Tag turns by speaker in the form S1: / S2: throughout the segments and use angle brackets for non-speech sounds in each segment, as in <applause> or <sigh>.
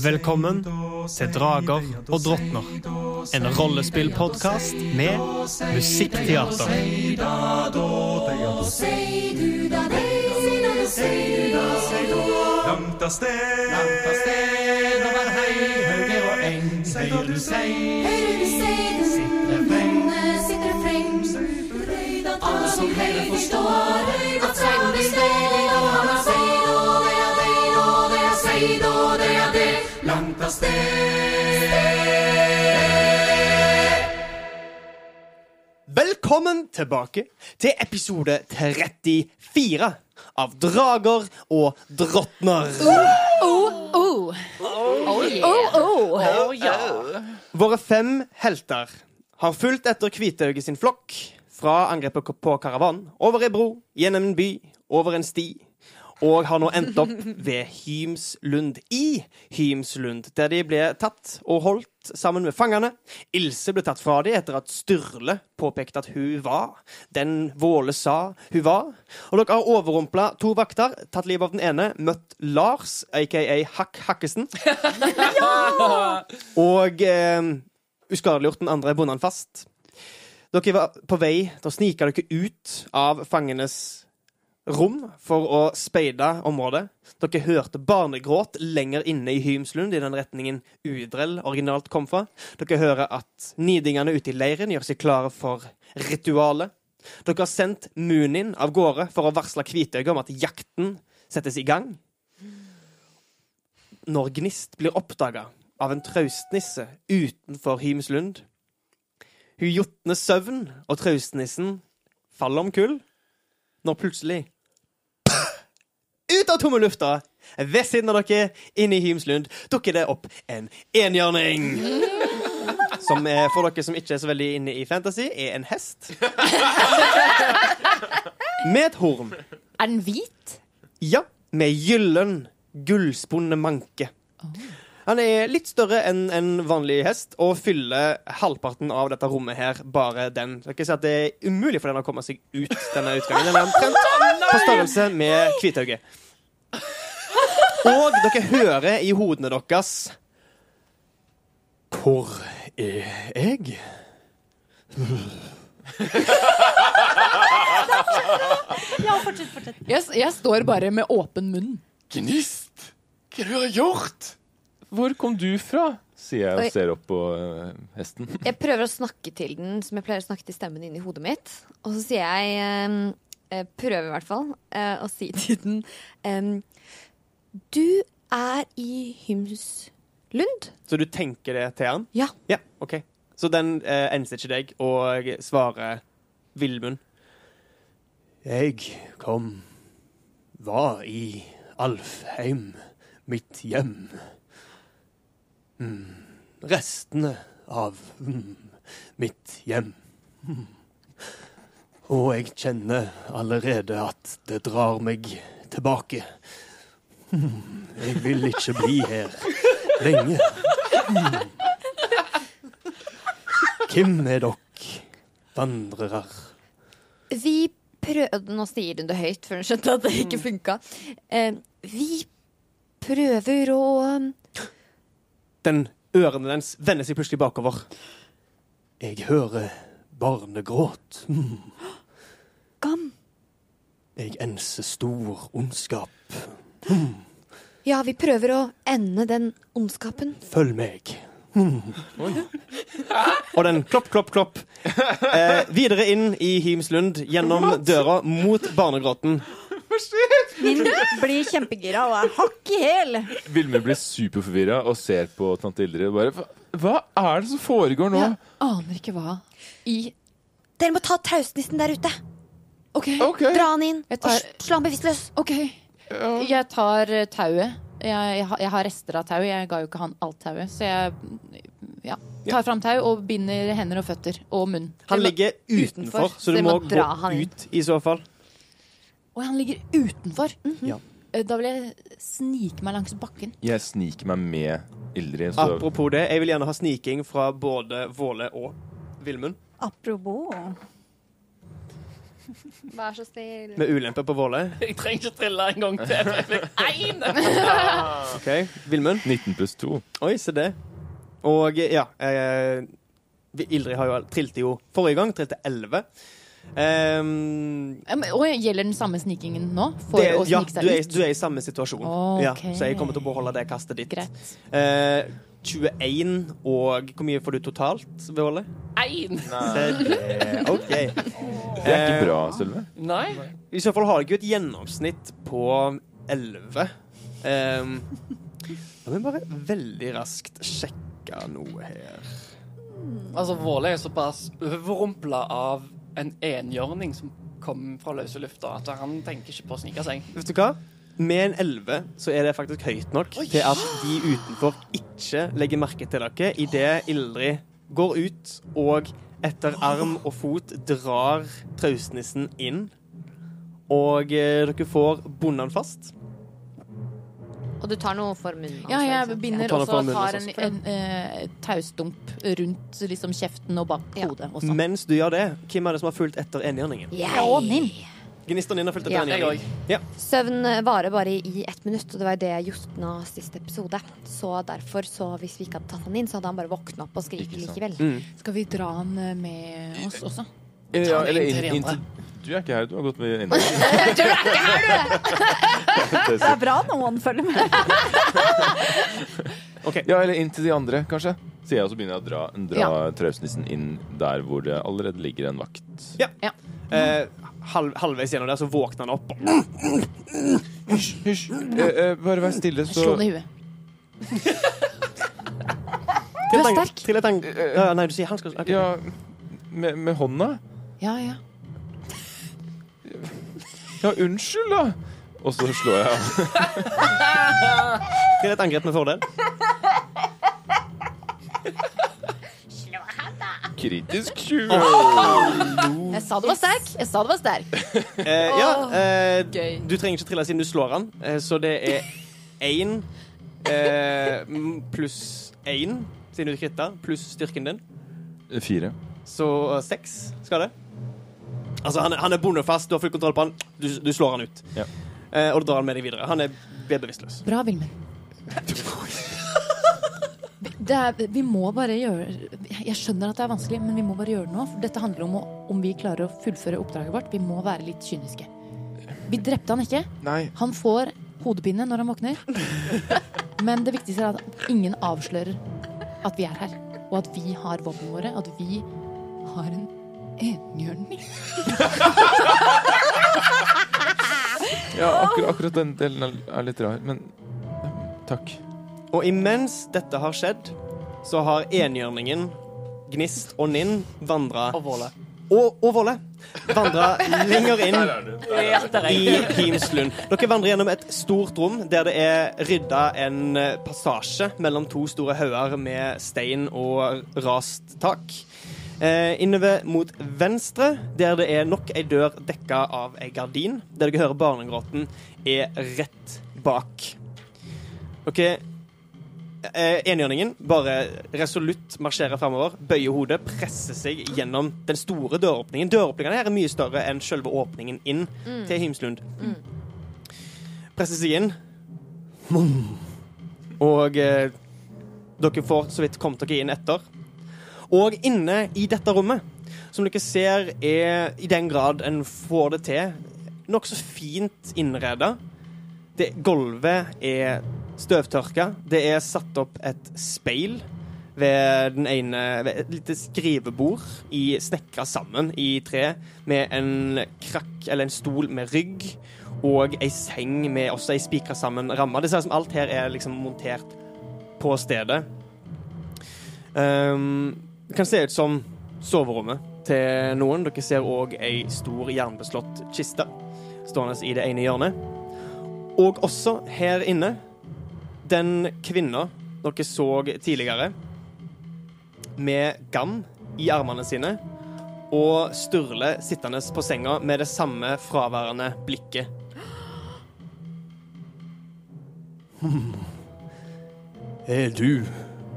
S1: Velkommen til Drager og drottner. En rollespillpodkast med musikkteater.
S2: Langt av sted, langt av sted over hei, høger og eng. Sier du sei,
S3: Alle som hele forstår at seiden blir stedig, og han har seid, og det er deid, og det er seid, og det er det.
S2: langt av sted.
S4: Velkommen tilbake til episode 34 av Drager og drottner. Våre fem helter har fulgt etter Kvitauget sin flokk fra angrepet på karavanen, over ei bro, gjennom en by, over en sti, og har nå endt opp ved Hymslund, i Hymslund, der de ble tatt og holdt sammen med fangene. Ilse ble tatt fra dem etter at Sturle påpekte at hun var den Våle sa hun var. Og dere har overrumpla to vakter, tatt livet av den ene, møtt Lars, aka Hakk Hakkesen. Og eh, uskadeliggjort den andre, bundet han fast. Dere var på vei til å snike dere ut av fangenes rom for å speide området. Dere hørte barnegråt lenger inne i Hymslund, i den retningen Udrell originalt kom fra. Dere hører at nidingene ute i leiren gjør seg klare for ritualet. Dere har sendt Munin av gårde for å varsle Kvitøyet om at jakten settes i gang. Når Gnist blir oppdaga av en traustnisse utenfor Hymslund Hun jotner søvn, og traustnissen faller om kull når plutselig Ut av tomme lufta, ved siden av dere, inne i Hymslund, dukker det opp en enhjørning. Som er, for dere som ikke er så veldig inne i fantasy, er en hest. Med et horn.
S5: Er den hvit?
S4: Ja, med gyllen, gullspunne manke. Han er litt større enn en vanlig hest og fyller halvparten av dette rommet her bare den. Dere ser at det er umulig for den å komme seg ut denne utgangen. Den er omtrent på størrelse med Kvitauget. Og dere hører i hodene deres Hvor er jeg?
S5: Jeg, s- jeg står bare med åpen munn.
S6: Gnist! Hva er det du har gjort? Hvor kom du fra? Sier jeg
S7: Oi.
S6: og ser opp på eh, hesten.
S7: Jeg prøver å snakke til den som jeg pleier å snakke til stemmen inni hodet mitt. Og så sier jeg ehm, eh, Prøver i hvert fall eh, å si <laughs> til den ehm, Du er i Hymslund?
S4: Så du tenker det til han?
S7: Ja.
S4: Ja, ok Så den eh, enser ikke deg og svarer Vilmund. Jeg kom var i Alfheim, mitt hjem. Mm. Restene av mm, mitt hjem. Mm. Og jeg kjenner allerede at det drar meg tilbake. Mm. Jeg vil ikke bli her lenge. Hvem er dere vandrere?
S7: Vi prøvde Nå sier hun det høyt, for hun skjønte at det ikke
S5: Mm.
S7: funka. Ehm, vi prøver å
S4: Den ørene dens vender seg plutselig bakover. Jeg hører barnegråt. Mm.
S7: Gam.
S4: Jeg enser stor ondskap.
S7: Ja, vi prøver å ende den ondskapen.
S4: Følg meg. Mm. Og den klopp, klopp, klopp. Eh, videre inn i Hymslund, gjennom døra, mot barnegråten.
S8: Min blir kjempegira og er hakk i hæl.
S6: Vilmer blir superforvirra og ser på tante Ildrid og bare "Hva- Hva er det som foregår nå?
S5: Jeg aner ikke hva. I
S7: Dere må ta traustnissen der ute.
S5: OK.
S6: OK.
S7: Dra han inn
S5: Jeg
S7: og
S5: tar-
S7: sl- slå han bevisstløs.
S5: ok Jeg tar eh, tauet. Jeg, jeg, har- jeg har rester av tauet. Jeg ga jo ikke han alt tauet, så jeg Ja. Tar fram tau og binder hender og føtter og munn.
S4: Han ligger utenfor, så du
S7: så jeg
S4: må,
S7: må
S4: gå
S7: dra han inn.
S4: ut i så fall.
S5: Å, han ligger utenfor?
S4: Ja.
S5: Eh, Da vil jeg snike meg langs bakken.
S6: Jeg sniker meg med Ildrid. Så
S4: Apropos det, jeg vil gjerne ha sniking fra både Våle og Vilmund.
S8: Apropos
S7: Vær så snill.
S4: Med ulempe på Våle.
S2: <laughs> Jeg trenger ikke trille en gang til. for Jeg fikk én!
S4: <laughs> OK, Vilmund.
S6: 19 pluss 2.
S4: Oi, se det. Og ja eh, Ildrid har jo, trilte jo forrige gang. Trilte 11. Ehm,
S5: Ja, men- Og gjelder den samme snikingen nå? For
S4: det,
S5: å
S4: ja,
S5: snike seg
S4: du er,
S5: ut?
S4: du er i samme situasjon. Ja, så jeg kommer til å beholde det kastet ditt.
S5: Greit.
S4: Eh, 21 og Hvor mye får du totalt, Våle?
S2: Én!
S4: Det- OK.
S6: Det er ikke bra, Sølve.
S2: Nei.
S4: I så fall har jeg jo et gjennomsnitt på 11. Um, da må jeg bare veldig raskt sjekke noe her.
S2: Altså, Våle er såpass overrumpla av en enhjørning som kom fra løse lufta, at han tenker ikke på å snike seg.
S4: Vet du hva? Med en 11 så er det faktisk høyt nok til at de utenfor ikke legger merke til dere idet Ildrid går ut og etter arm og fot drar trausnissen inn. Og eh, dere får bonde han fast.
S7: Og du tar noe for munnen hans,
S5: Ja, jeg
S7: liksom.
S5: binder
S4: tar den
S5: også
S4: fra
S5: og
S4: munnen
S5: tar en,
S4: også.
S5: en eh, taustump rundt liksom, kjeften og bak
S7: Ja.
S5: hodet også.
S4: Mens du gjør det, hvem er det som har fulgt etter enhjørningen?
S7: Jeg.
S4: Gnisteren din har fulgt
S7: Ja.
S4: etter
S2: Jeg
S4: enhjørningen.
S2: òg.
S7: Søvn varer bare i ett minutt, og det var det jeg jotna siste episode. Så derfor, så hvis vi ikke hadde tatt han inn, så hadde han bare våkna opp og skriket
S6: Ikke sant.
S7: likevel.
S4: Mm.
S5: Skal vi dra han eh, med oss også?
S6: Ja,
S2: den
S6: eller
S2: inn til
S6: inn,
S2: de
S6: inn
S2: andre.
S6: til Du er ikke her, du har gått med innom.
S8: Det er bra noen følger
S6: <laughs>
S8: med.
S6: Ja, eller inn til de andre, kanskje. Sier jeg, og så begynner jeg å dra, dra
S5: Ja.
S6: trausnissen inn der hvor det allerede ligger en vakt.
S4: Eh, halv, halvveis gjennom der så våkner han opp.
S6: Hysj, hysj. Eh, eh, bare vær stille, så
S5: Slå ned
S4: <laughs>
S5: huet.
S4: Til et
S5: er
S4: ang-
S5: sterk.
S4: Til et ang- ja, nei, du sier han skal ok.
S6: Ja, med, med hånda?
S5: Mm. Ja, ja.
S6: Ja, unnskyld, da. Og så slår jeg
S4: Til et angrep med fordel.
S6: kritisk 20.
S5: Jeg sa det var sterk! Jeg sa det var sterk.
S4: Eh, ja, eh,
S5: gøy.
S4: du trenger ikke trille siden du slår han, eh, så det er én eh, m- pluss én, siden du kritta, pluss styrken din.
S6: Fire.
S4: Så eh, seks skal det. Altså, han, er- han er bondefast, du har full kontroll på han, du, du slår han ut.
S6: Ja.
S4: Eh, og du drar han med deg videre. Han er ble bevisstløs.
S5: Bra, Vilmen. Det er, vi må bare gjøre Jeg skjønner at det er vanskelig, men vi må bare gjøre det nå. For dette handler om å, om vi klarer å fullføre oppdraget vårt. Vi må være litt kyniske. Vi drepte han ikke.
S6: Nei.
S5: Han får hodepine når han våkner. Men det viktigste er at ingen avslører at vi er her, og at vi har våpnene våre. At vi har en enhjørning.
S6: Ja, akkurat, akkurat den delen er er litt rar, men eh, takk.
S4: Og imens dette har skjedd, så har enhjørningen, Gnist og Ninn vandra
S2: Og Våle.
S4: og, og Volle vandra lenger <laughs> inn i Himslund. Dere vandrer gjennom et stort rom der det er rydda en eh, passasje mellom to store hauger med stein og rast tak. Eh, innover mot venstre, der det er nok ei dør dekka av ei gardin. Der dere hører barnegråten er rett bak. Dere Eh, Enhjørningen bare resolutt marsjerer framover, bøyer hodet, presser seg gjennom den store døråpningen. Døråpningene her er mye større enn selve åpningen inn til Himslund. Presser seg inn. Mm. Og eh, dere får så vidt kommet dere inn etter. Og inne i dette rommet, som dere ser er i den grad en får det til, nokså fint innreda. Det, gulvet er støvtørka. Det er satt opp et speil ved, den ene, ved et lite skrivebord i snekra sammen i tre med en krakk eller en stol med rygg og ei seng med også ei spikra sammen ramme. Det ser ut som alt her er liksom montert på stedet. Ehm, det kan se ut som soverommet til noen. Dere ser òg ei stor jernbeslått kiste stående i det ene hjørnet. Og også her inne den kvinna dere så tidligere, med gam i armene sine og Sturle sittende på senga med det samme fraværende blikket. Hmm. <laughs> Er du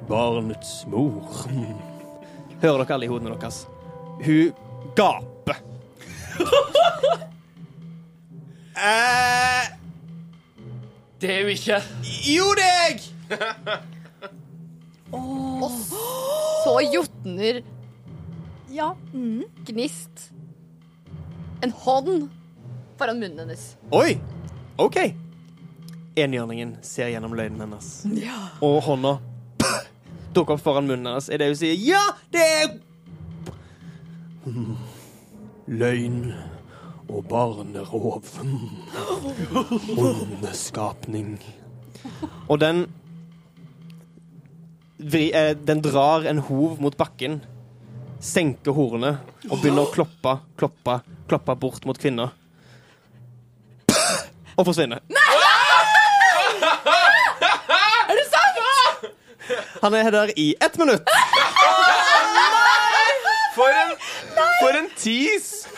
S4: barnets mor? Hmm. <laughs> Hører dere alle i hodene deres? Hun gaper. <laughs> eh,
S2: Det er jo ikke
S4: jo, det er jeg!
S7: Så jotner
S8: Ja. Mm.
S7: Gnist en hånd foran munnen hennes.
S4: Oi! OK. Enhjørningen ser gjennom løgnen hennes. Og hånda <clears throat> dukker opp foran munnen hennes idet hun sier 'ja, det er Mm. Løgn og barnerov. Hmm. Mm. Ondskapning. Og den vri, eh, Den drar en hov mot bakken, senker hornet og begynner å kloppe, kloppe, kloppe bort mot kvinner og forsvinner. Nei! <laughs> Er det sant?! Han er der i ett minutt.
S6: For en, for en tease!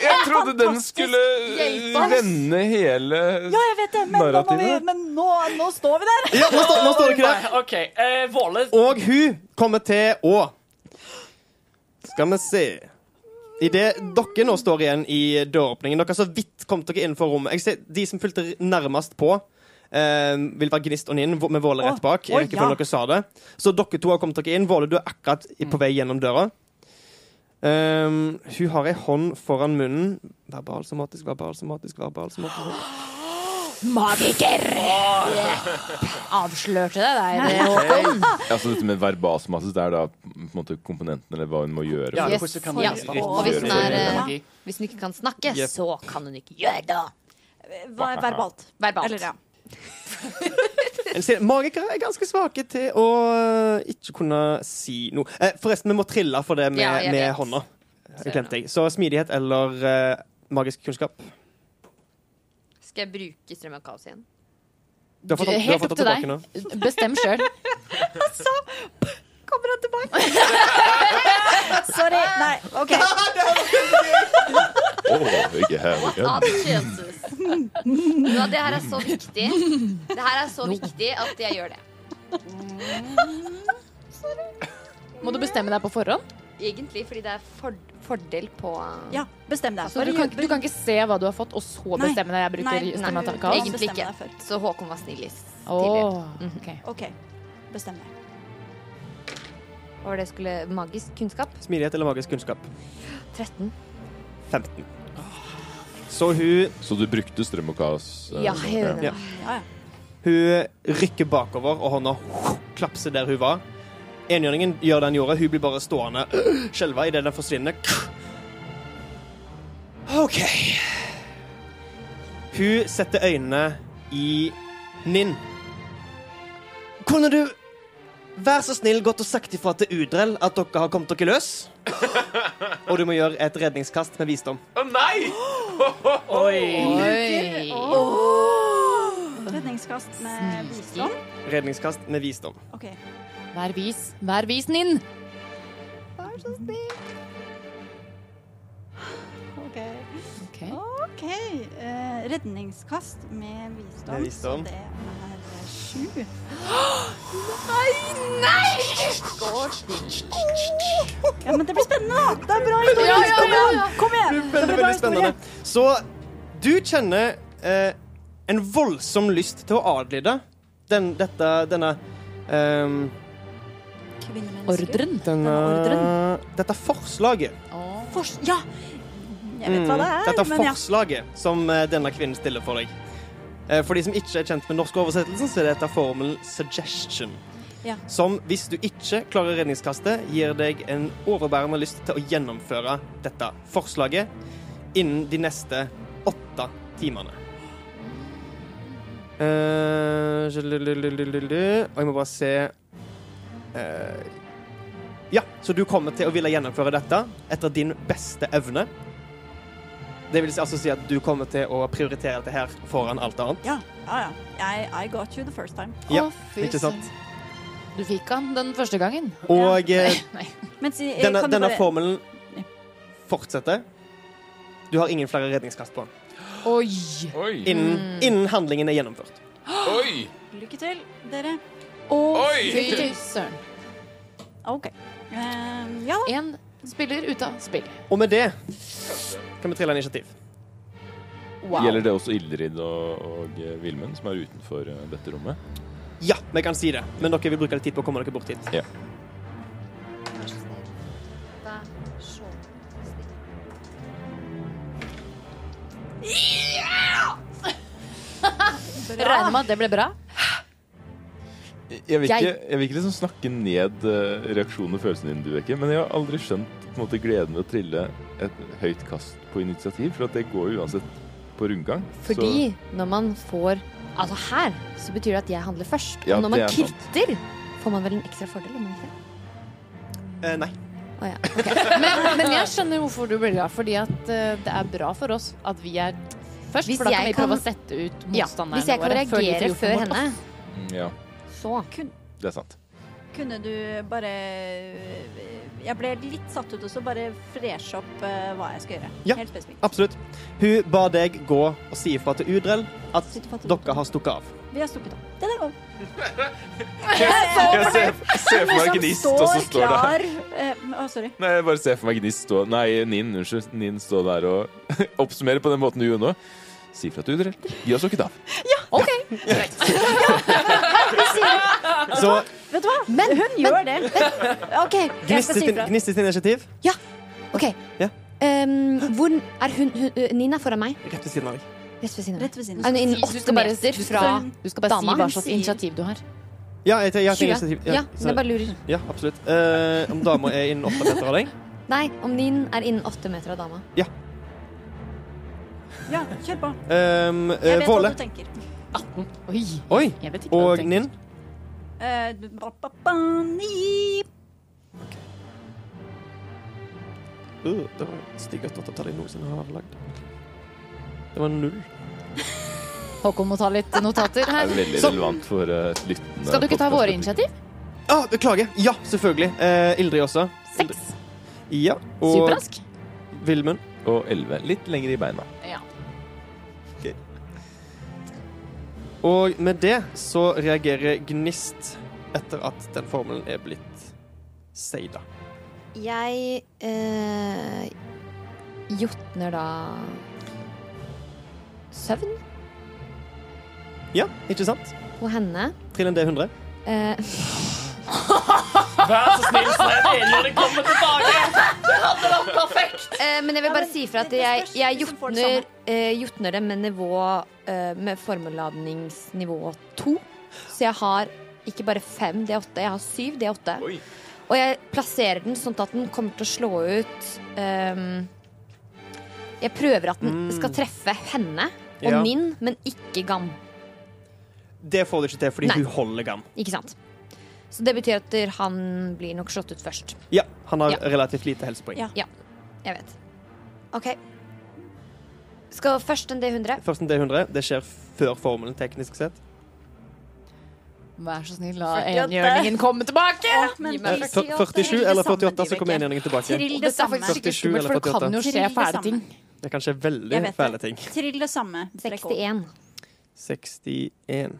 S6: Jeg trodde den skulle eh,
S7: hjelp oss.
S6: vende hele
S8: Ja, jeg vet det, men, nå, må vi,
S6: Narrativet.
S8: men nå, nå står vi der.
S4: Ja, nå, står, nå står det ikke der.
S2: Nei, OK. Eh, Våle
S4: Og hun kommer til å Skal vi se Idet dere nå står igjen i døråpningen Dere så vidt kom dere innenfor rommet. Jeg ser De som fulgte nærmest på, eh, vil være Gnist og Ninn, hvor- med Våle rett bak.
S8: Å, å,
S4: Jeg vet ikke hvordan
S8: ja.
S4: dere sa det Så dere to har kommet dere inn. Våle, du er akkurat i-
S8: Mm.
S4: på vei gjennom døra. Um, hun har ei hånd foran munnen. Verbalsomatisk, verbalsomatisk, verbalsomatisk.
S5: <gasps> Magiker! Avslørte det der.
S6: Altså dette med verbalsmasse, det er da på en måte komponenten eller hva hun må gjøre.
S2: Ja,
S6: for-
S7: Yes.
S2: hvordan kan man
S7: Ja.
S2: gjøre det?
S7: Og hvis hun, er, eh,
S2: Energi.
S7: hvis hun ikke kan snakke,
S4: Yep.
S7: så kan hun ikke gjøre det.
S8: Hva er verbalt?
S7: Verbalt.
S8: Eller, ja.
S4: En ser- Magikere er ganske svake til å eh, ikke kunne si noe. Eh, forresten, vi må trille for det med,
S7: Ja, jeg
S4: med
S7: vet.
S4: hånda. Det glemte jeg. Så smidighet eller eh, magisk kunnskap.
S7: Skal jeg bruke strøm og kaos igjen?
S4: Du har fått,
S5: Du,
S4: du har
S5: helt
S4: fått
S5: opp
S4: det
S5: til
S4: tilbake
S5: deg.
S4: nå.
S5: Bestem sjøl.
S8: Kommer han tilbake? Sorry. Nei, OK.
S6: Åh, ikke her
S7: Ah,
S6: igjen.
S7: Jesus. Ja, det her er så viktig. Det her er så viktig at jeg gjør det.
S5: Må du bestemme deg på forhånd?
S7: Egentlig fordi det er for fordel på eh,
S8: Ja, bestem deg.
S5: Så du, kan, du kan ikke se hva du har fått, og så
S8: Nei.
S5: bestemme deg. Jeg bruker
S7: Nei.
S5: stemme av
S7: Nei.
S5: kaos.
S7: Egentlig
S8: Bestemme
S7: ikke.
S8: deg før.
S7: Så Håkon var snillest. tidligere.
S5: Åh, ok.
S8: OK. Bestem deg.
S7: Hva var det jeg skulle Magisk kunnskap?
S4: Smidighet eller magisk kunnskap.
S7: 13.
S4: 15. Så hun,
S6: Så du brukte strøm og kaos? eh,
S7: Ja, jeg gjør det.
S4: Ja. hun rykker bakover, og hånda klapser der hun var. Enhjørningen gjør det han gjorde. Hun blir bare stående skjelva idet den forsvinner. OK. Hun setter øynene i Ninn. Kunne du Vær så snill godt og sagt ifra til Udrell at dere har kommet dere løs? Og du må gjøre et redningskast med visdom.
S2: Å nei! Oi.
S5: Oi.
S8: Redningskast med visdom.
S4: Redningskast med visdom.
S8: OK.
S5: Vær vis. Vær vis, Ninn.
S8: Vær så snill. OK.
S5: Ok.
S8: OK. eh, redningskast med visdom.
S4: Med visdom.
S8: Så det er sju. Ja, men det blir spennende, da! Det er bra historie. Kom igjen!
S4: Veldig,
S8: Det blir bra
S4: veldig spennende. Så du kjenner eh, en voldsom lyst til å adlyde den, dette, denne ehm,
S8: historie. Kvinnemennesker.
S5: Ordren.
S4: denne,
S8: ordren.
S4: Dette forslaget.
S8: Fors ja! Jeg vet hva
S4: Mm,
S8: det er,
S4: dette
S8: men ja.
S4: forslaget som eh, denne kvinnen stiller for deg. Eh, For de som ikke er kjent med norsk oversettelsen, så er dette formelen 'suggestion'.
S8: Ja.
S4: Som, hvis du ikke klarer redningskastet, gir deg en overbærende lyst til å gjennomføre dette forslaget innen de neste åtte timene. Eh, sjalululululu. Og jeg må bare se Eh, Ja, så du kommer til å ville gjennomføre dette etter din beste evne. Det vil altså si at du kommer til å prioritere dette her foran alt annet.
S8: Ja, ja. ja. Jeg, I got you the first time.
S4: Ja, ikke sant?
S5: Du fikk han den første gangen.
S4: Og
S7: <laughs>
S4: eh,
S8: Men si, eh,
S4: denne,
S8: kan du
S4: denne
S8: bare-
S4: formelen fortsetter. Du har ingen flere redningskast på den.
S5: Oi!
S6: Oi!
S4: Innen,
S7: Mm.
S4: innen handlingen er gjennomført.
S6: Oi!
S8: Lykke til, dere.
S6: Oi!
S5: Fy søren.
S8: OK. Eh, ja,
S5: Én spiller ute av spill.
S4: Og med det kan vi trille initiativ.
S5: Wow.
S6: Gjelder det også Ildrid og, og eh, Vilmen, som er utenfor eh, dette rommet?
S4: Ja, vi kan si det, men dere vil bruke litt tid på å komme dere bort hit.
S7: Vær så snill. Vær så snill.
S5: Regner med at det ble bra.
S6: Jeg vil,
S5: Jeg-
S6: ikke, jeg vil ikke liksom snakke ned eh, reaksjonen og følelsen din, du, Vekke, men jeg har aldri skjønt på en måte, gleden ved å trille et høyt kast på initiativ, for at det går jo uansett på rundgang. Så-
S7: Fordi når man får Altså her så betyr det at jeg handler først.
S6: Ja,
S7: og når man
S6: det er sant.
S7: kritter, får man vel en ekstra fordel? Om man ikke?
S4: Eh, nei.
S7: Å ja. ok.
S5: Men, men jeg skjønner hvorfor du blir glad. Fordi at eh, det er bra for oss at vi er først.
S7: Hvis
S5: for da kan
S7: jeg
S5: vi prøve
S7: kan-
S5: å sette ut
S7: ja.
S5: motstanderne
S7: Hvis jeg kan
S5: våre de
S7: reagere
S5: får gjort
S7: før
S5: noe mot
S7: henne,
S6: Mm, Ja,
S7: så
S8: kun,
S6: det er sant.
S8: kunne du bare Jeg ble litt satt ut, og så bare freshe opp eh, hva jeg skal gjøre.
S4: Ja.
S8: Helt spesifikt.
S4: Absolutt. Hun ba deg gå og si ifra til Udrell at
S8: Sitter fast i
S4: dere har stukket av.
S8: Vi har stukket av. Den er over.
S6: Jeg ser, ser for
S5: liksom
S6: meg Gnist, og så står det her.
S8: klar eh, Å, sorry.
S6: Nei, jeg bare ser for meg Gnist stå Nei, Ninn, unnskyld. Ninn stå der og <laughs> oppsummere på den måten du gjorde nå. Si fra til Udrell. Gi oss ikke av.
S4: Så
S8: Vet du hva? Hun gjør det.
S7: OK. Jeg skal
S4: Gnistes
S7: si
S4: sin,
S7: fra.
S4: Gnistes initiativ
S7: Ok.
S4: Ja.
S7: Ehm, hvor er hun, hun ø, Nina er foran meg.
S4: rett ved siden av deg.
S7: Rett ved siden av meg.
S8: Rett ved siden
S7: Hun
S8: av.
S7: er innen
S5: Du
S7: åtte
S5: skal bare-
S7: meter
S5: du skal-
S7: fra
S5: Du skal bare
S7: Dama,
S5: si hva
S7: hun
S5: slags
S7: sier-
S5: initiativ du har.
S4: Ja, jeg, jeg, jeg, har
S7: 20.
S4: et initiativ.
S7: Ja, men jeg
S4: sorry.
S7: bare lurer.
S4: ja absolutt. Eh, om dama er innen åtte meter av deg?
S7: Nei, om Nin er innen åtte meter av dama.
S8: Ja, kjør på.
S4: Um,
S8: Jeg vet hva
S4: Våle
S8: du tenker.
S5: Oi!
S4: Oi.
S5: Jeg vet ikke
S4: og
S5: hva du tenker.
S4: Ninn.
S8: Eh, du- ba, ba, ba, ni.
S4: Uh, det var det styggeste åttetall jeg noensinne har lagd. Det var null.
S5: Håkon må ta litt notater
S6: Det
S5: her.
S6: er veldig
S4: Så-
S6: relevant for eh, lyttende.
S5: Skal du ikke ta
S6: podcast-
S5: våre initiativ?
S4: Ah, beklager. Ja, selvfølgelig. Eh, Ildrid også.
S5: Seks.
S4: Ja. Og
S5: Superrask.
S4: Vilmund.
S6: Og elleve. Litt lenger i beina.
S4: Og med det så reagerer Gnist etter at den formelen er blitt seida.
S7: Jeg eh, jotner da søvn
S4: Ja, ikke sant?
S7: på henne.
S4: Trill en D100.
S7: Eh,
S2: Vær så snill, Fred, enhjørning kommer tilbake!
S7: Eh, men jeg vil
S8: Ja,
S7: bare
S8: men
S7: si fra at
S8: det- det
S7: jeg,
S8: spørs
S7: jeg
S8: hvem som får det
S7: jotner, eh, jotner det med nivå eh, Med formeladningsnivå to. Så jeg har ikke bare fem, det er åtte. Jeg har syv, det er åtte.
S6: Oi.
S7: Og jeg plasserer den sånn at den kommer til å slå ut ehm, Jeg prøver at den
S4: Mm.
S7: skal treffe henne og
S4: Ja.
S7: Ninn, men ikke Gam.
S4: Det får du ikke til fordi
S7: Nei.
S4: hun holder gam.
S7: Ikke sant? Så det betyr at han blir nok slått ut først.
S4: Ja, han har
S7: Ja.
S4: relativt lite helsepoeng.
S8: Ja.
S7: Jeg vet. OK. Skal først en D100.
S4: Først en D100. Det skjer før formelen, teknisk sett.
S5: Vær så snill, la
S8: 48.
S5: enhjørningen komme tilbake!
S8: Å, men
S5: Gi
S4: Eh,
S5: meg
S8: Trill
S4: fyr-
S5: først.
S4: 47 eller 48, så kommer
S5: Trill
S4: enhjørningen tilbake.
S8: Trill
S5: Det
S8: det
S5: er faktisk
S8: samme.
S5: skikkelig
S4: 47
S5: skummelt, for det kan jo
S8: eller
S5: skje
S8: 48.
S5: fæle ting.
S4: Det kan skje
S8: Jeg
S4: veldig
S8: vet det.
S4: fæle ting.
S8: Trill det samme. Trekk over.
S7: 61.
S4: 61.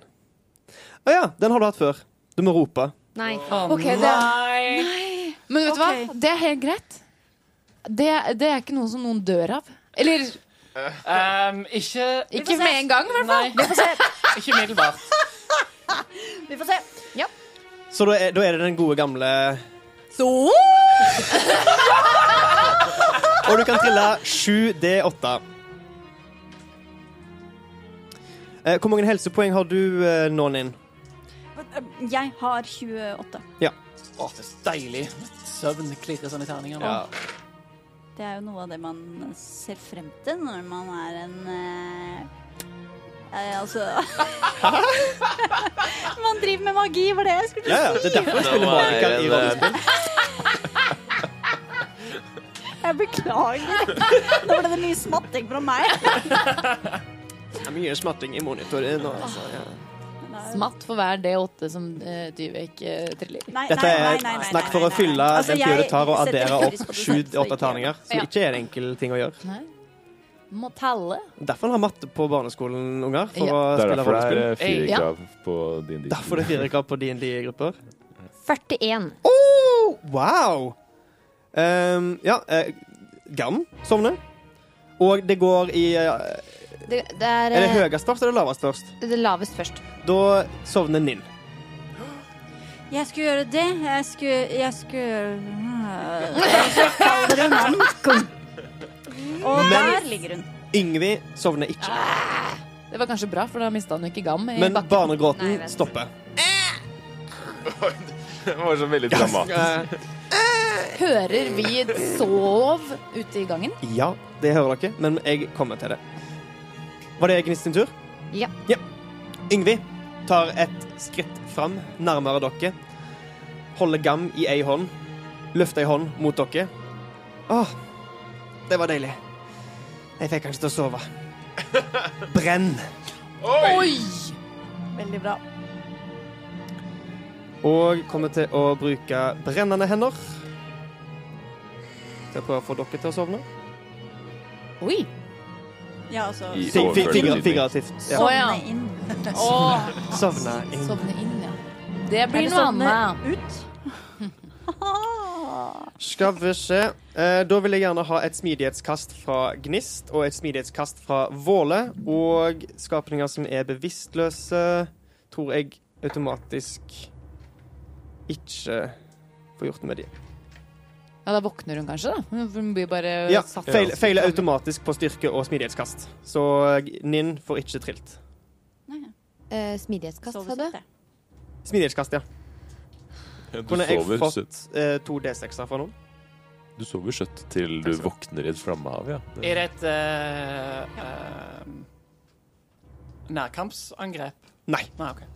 S4: Å ja, den har du hatt før. Du må rope.
S7: Nei.
S5: Ok, det Men vet du
S8: Ok.
S5: hva? Det er helt greit. Det, det er ikke noe som noen dør av. Eller
S2: Ehm, ikke
S5: ikke med en gang, i hvert fall.
S2: Nei, ikke umiddelbart.
S8: Vi får se.
S4: Så da er, da er det den gode gamle Og du kan trille 7D8. Eh, Hvor mange helsepoeng har du eh, nå, Ninn?
S8: Jeg har 28.
S2: Å, det er deilig. Søvn klirrer sånn i terninger nå.
S8: Det er jo noe av det man ser frem til når man er en eh, eh, Altså <laughs> Man driver med magi, var det jeg skulle
S4: Ja, ja. Det er derfor jeg spiller magiker i rollespill.
S8: Jeg beklager. Nå ble det mye smatting fra meg.
S4: Det er mye smatting i monitoren. nå, altså. Ja.
S8: Men
S5: Smatt for hver D8 som eh, Dyvek eh, triller.
S8: Nei,
S4: Dette
S8: nei,
S4: er
S8: nei, nei, nei,
S4: snakk
S8: nei,
S4: for å
S8: nei, nei.
S4: fylle
S8: Altså,
S4: den
S8: jeg
S4: pia du tar, og
S8: setter
S4: addere
S8: pris
S4: opp
S8: på
S4: sju-åtte
S8: prosentsatser, ikke-
S4: terninger. Som ikke er en enkel ting å gjøre.
S5: Nei. Må telle.
S4: Derfor har matte på barneskolen, unger. For
S5: Ja.
S4: å
S6: Det er
S4: spille
S6: derfor det
S4: rollespill.
S6: er eh, fire
S5: Ja.
S6: krav på din dikt.
S4: Derfor det er fire krav på DND-grupper.
S7: 41.
S4: Oh, wow! Ehm, ja, eh, Garn sovner. Og det går i eh,
S7: Det, det er,
S4: Er det
S7: eh,
S4: høyest først eller lavest først?
S7: det er lavest først.
S4: Da sovner Ninn.
S8: Jeg skulle gjøre det. Jeg skulle Jeg skulle <laughs> Så faller hun om. Og der ligger hun.
S4: Yngvi sovner ikke.
S5: Det var kanskje bra, for da mista han jo ikke gam i
S4: Men
S7: Nei, jeg
S5: bakken.
S4: barnegråten
S7: vet.
S4: stopper.
S6: Det var så veldig dramatisk.
S4: Eh,
S5: Hører vi et sov ute i gangen?
S4: ja, det hører dere, men jeg kommer til det. Var det Gnist sin tur?
S7: Ja.
S4: Yngvi tar et skritt fram nærmere dere. Holder gam i ei hånd. Løfter ei hånd mot dere. Åh, det var deilig. Jeg fikk han ikke til å sove. Brenn.
S5: Oi!
S8: Veldig bra.
S4: Og kommer til å bruke brennende hender. Til å prøve å få dere til å sovne.
S5: Oi!
S8: Ja, altså
S6: I
S4: Fig- fig-
S6: overført
S4: figur-
S6: betydning.
S4: Figurativt. Ja.
S5: Å, ja.
S8: sovne inn.
S5: Åh,
S4: Sovne inn.
S5: sovne inn, ja. Det
S8: Er
S5: blir
S8: det
S5: noe
S8: sånn
S5: annet.
S8: ut?
S4: Skal vi se. Eh, da vil jeg gjerne ha et smidighetskast fra Gnist og et smidighetskast fra Våle. Og skapninger som er bevisstløse, tror jeg automatisk ikke får gjort noe med de.
S5: Ja, da våkner hun kanskje, da. eh? Hun blir bare
S4: Ja,
S5: Eh, satt
S4: feil, feiler automatisk på styrke og smidighetskast. Så eh, Ninn får ikke trilt.
S7: Eh, smidighetskast, sa du?
S8: Sovesutte.
S4: Smidighetskast, ja.
S6: Du
S4: Kunne jeg
S6: sover søtt.
S4: fått eh, to D6-er fra noen?
S6: Du sover søtt til
S4: Takk skal
S6: du
S4: du ha.
S6: våkner i et flammehav, ja. Det-
S2: Er det et eh, eh, nærkampsangrep?
S4: Nei.
S2: Nei, OK.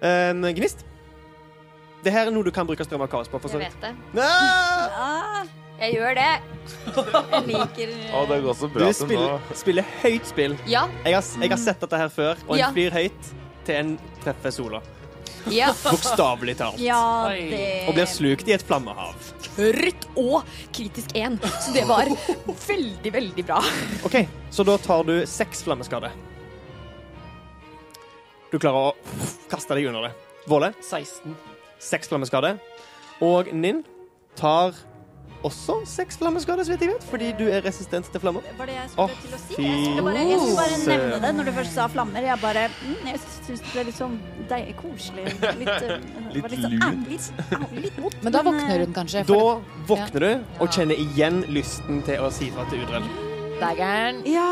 S4: Um, gnist? Det her er noe du kan bruke strøm av kaos på. For så.
S7: Jeg vet det.
S4: Ah!
S8: Ah,
S7: Jeg gjør det. <laughs>
S8: jeg liker eh,
S6: Å, det går så
S4: Du
S6: bra til nå.
S4: spiller, spiller høyt spill.
S7: Ja.
S4: Jeg har, jeg har sett dette her før, og en
S7: Ja.
S4: flyr høyt til en treffer sola.
S7: ja.
S4: Bokstavelig talt.
S8: Ja,
S2: Oi.
S4: Og blir
S8: det
S4: slukt i et flammehav.
S7: Rødt og kritisk 1. Så det var veldig, veldig bra.
S4: OK, så da tar du seks flammeskader. Du klarer å kaste deg under det. Våle,
S2: 16.
S4: seks flammeskader. Og Ninn tar også seks flammeskader, så vidt jeg vet, fordi du er resistent til flammer.
S8: var det jeg skulle
S4: Å,
S8: til å si.
S4: fy
S8: Jeg skulle bare, jeg skulle bare
S4: søren.
S8: nevne det når du først sa flammer. Jeg bare mm, Jeg syns det ble litt sånn deig, koselig.
S4: <laughs>
S8: Litt, eh, det var litt sånn, au, litt, au, litt vondt.
S5: Men da våkner hun kanskje.
S4: Da
S5: For
S4: våkner du og kjenner igjen lysten til å si fra til Udrell.
S5: daggeren
S8: Ja.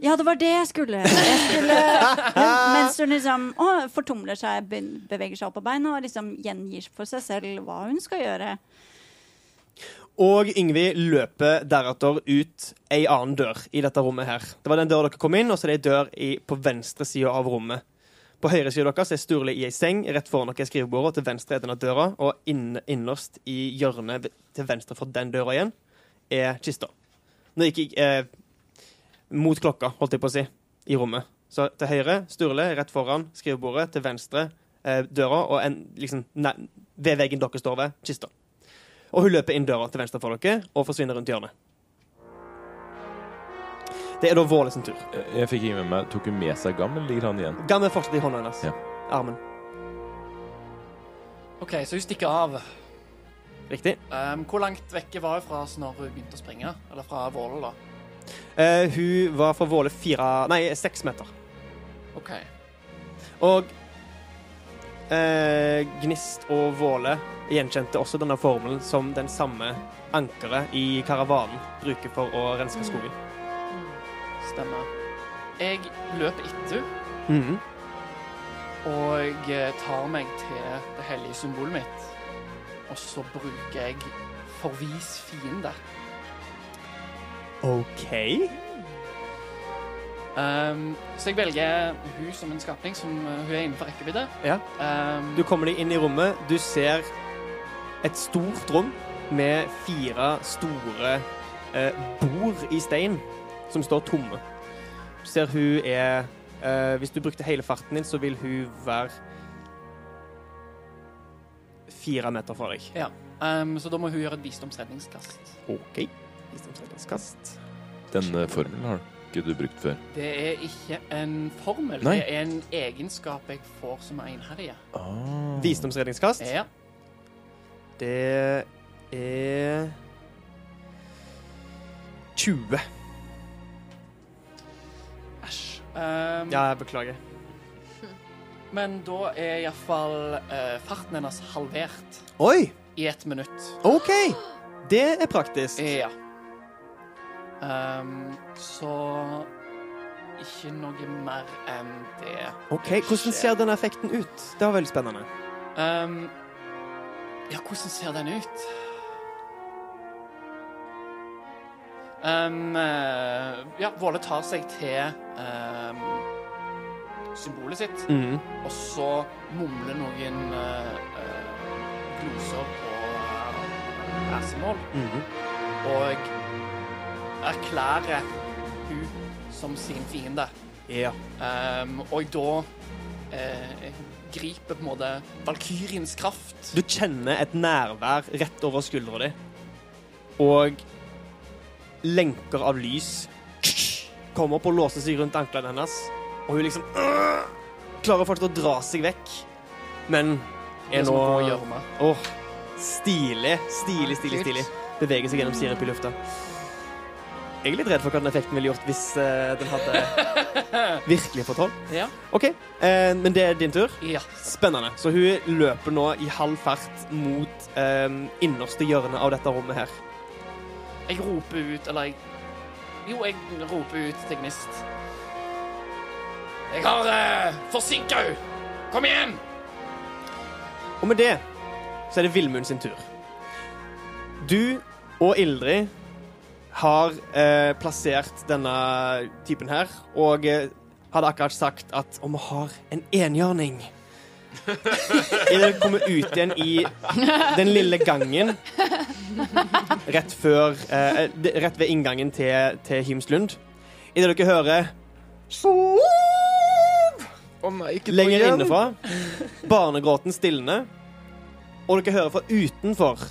S8: Ja, det var det jeg skulle. Jeg skulle men- mens hun liksom å, fortumler seg, be- beveger seg opp på beina og liksom gjengir for seg selv hva hun skal gjøre.
S4: Og Yngvi løper deretter ut ei annen dør i dette rommet her. Det var den døra dere kom inn, og så er det ei dør i, på venstre sida av rommet. På høyre side deres er Sturle i ei seng rett foran dere i skrivebordet, og til venstre er denne døra, og inn, innerst i hjørnet ve- til venstre for den døra igjen er kista. Nå gikk jeg eh, mot klokka, holdt jeg på å si, i rommet. Så til høyre Sturle rett foran skrivebordet, til venstre eh, døra, og en, liksom, nei, ved veggen dere står ved, kista. Og hun løper inn døra til venstre for dere og forsvinner rundt hjørnet. Det er da Våle sin tur.
S6: Jeg- Jeg fikk ikke med meg Tok hun med seg gam, eller ligger han igjen?
S4: Gam er fortsatt i hånda hennes.
S6: Ja.
S4: Armen.
S2: OK, så hun stikker av.
S4: Riktig.
S2: Ehm, hvor langt vekke var hun fra oss når hun begynte å springe? Eller fra Våle, da?
S4: Eh, hun var fra Våle fire Nei, seks meter.
S2: OK.
S4: Og eh, Gnist og Våle gjenkjente også denne formelen som den samme ankeret i karavanen bruker for å renske skogen.
S2: Stemmer. Jeg løper etter henne
S4: Mhm.
S2: og eh, tar meg til det hellige symbolet mitt. Og så bruker jeg forvis fiende.
S4: OK.
S2: Ehm, så jeg velger hun som en skapning som eh, hun er innenfor rekkevidde.
S4: Ja.
S2: Ehm,
S4: Du kommer deg inn i rommet. Du ser et stort rom med fire store eh, bord i stein som står tomme. Du ser hun er eh, Hvis du brukte hele farten din, så vil hun være fire meter fra deg.
S2: Um, så da må hun gjøre et visdomsredningskast.
S4: OK. Visdomsredningskast.
S6: Denne eh, formelen har ikke du brukt før.
S2: Det er ikke en formel,
S6: Nei.
S2: det er en egenskap jeg får som er einherje.
S4: Visdomsredningskast.
S2: Ja.
S4: Det er 20.
S2: Æsj. Um,
S4: Ja, jeg beklager.
S2: Men da er iallfall uh, farten hennes halvert
S4: Oi!
S2: i ett minutt.
S4: OK! Eh, Det er praktisk.
S2: Ja. Um, så ikke noe mer enn det.
S4: Ok, Hvordan ser den effekten ut? Det var veldig spennende.
S2: Um, ja, hvordan ser den ut? Um, eh, ja, Våle tar seg til um, symbolet sitt, og så mumler noen eh, eh, gloser på eh, æsemål, og erklærer hun som sin fiende.
S4: Ja.
S2: Um, og da eh, griper på en måte valkyriens kraft.
S4: Du kjenner et nærvær rett over skuldra di, og lenker av lys kommer opp og låser seg rundt anklene hennes, og hun liksom øh, klarer fortsatt å dra seg vekk, men
S2: Det
S4: er
S2: som
S4: nå
S2: går i gjørme.
S4: Åh, stilig, stilig, stilig, stilig. Beveger seg gjennom sirup i lufta. Jeg er litt redd for hva den effekten ville gjort hvis eh, den hadde virkelig fått hold.
S2: Ja.
S4: OK, eh, men det er din tur.
S2: ja.
S4: Spennende. Så hun løper nå i halv fart mot eh, innerste hjørne av dette rommet her.
S2: Jeg roper ut, eller jeg Jo, jeg roper ut til Gnist. Jeg har uh, forsinka henne! Kom igjen!
S4: Og med det så er det Vilmund sin tur. Du og Ildrid har eh, plassert denne typen her, og eh, hadde akkurat sagt at om vi har en enhjørning <laughs> Idet dere kommer ut igjen i den lille gangen rett før eh, d- Rett ved inngangen til, til Himslund. Idet dere hører
S6: Å nei, ikke
S4: lenger innenfra. Barnegråten stilner. Og dere hører fra utenfor,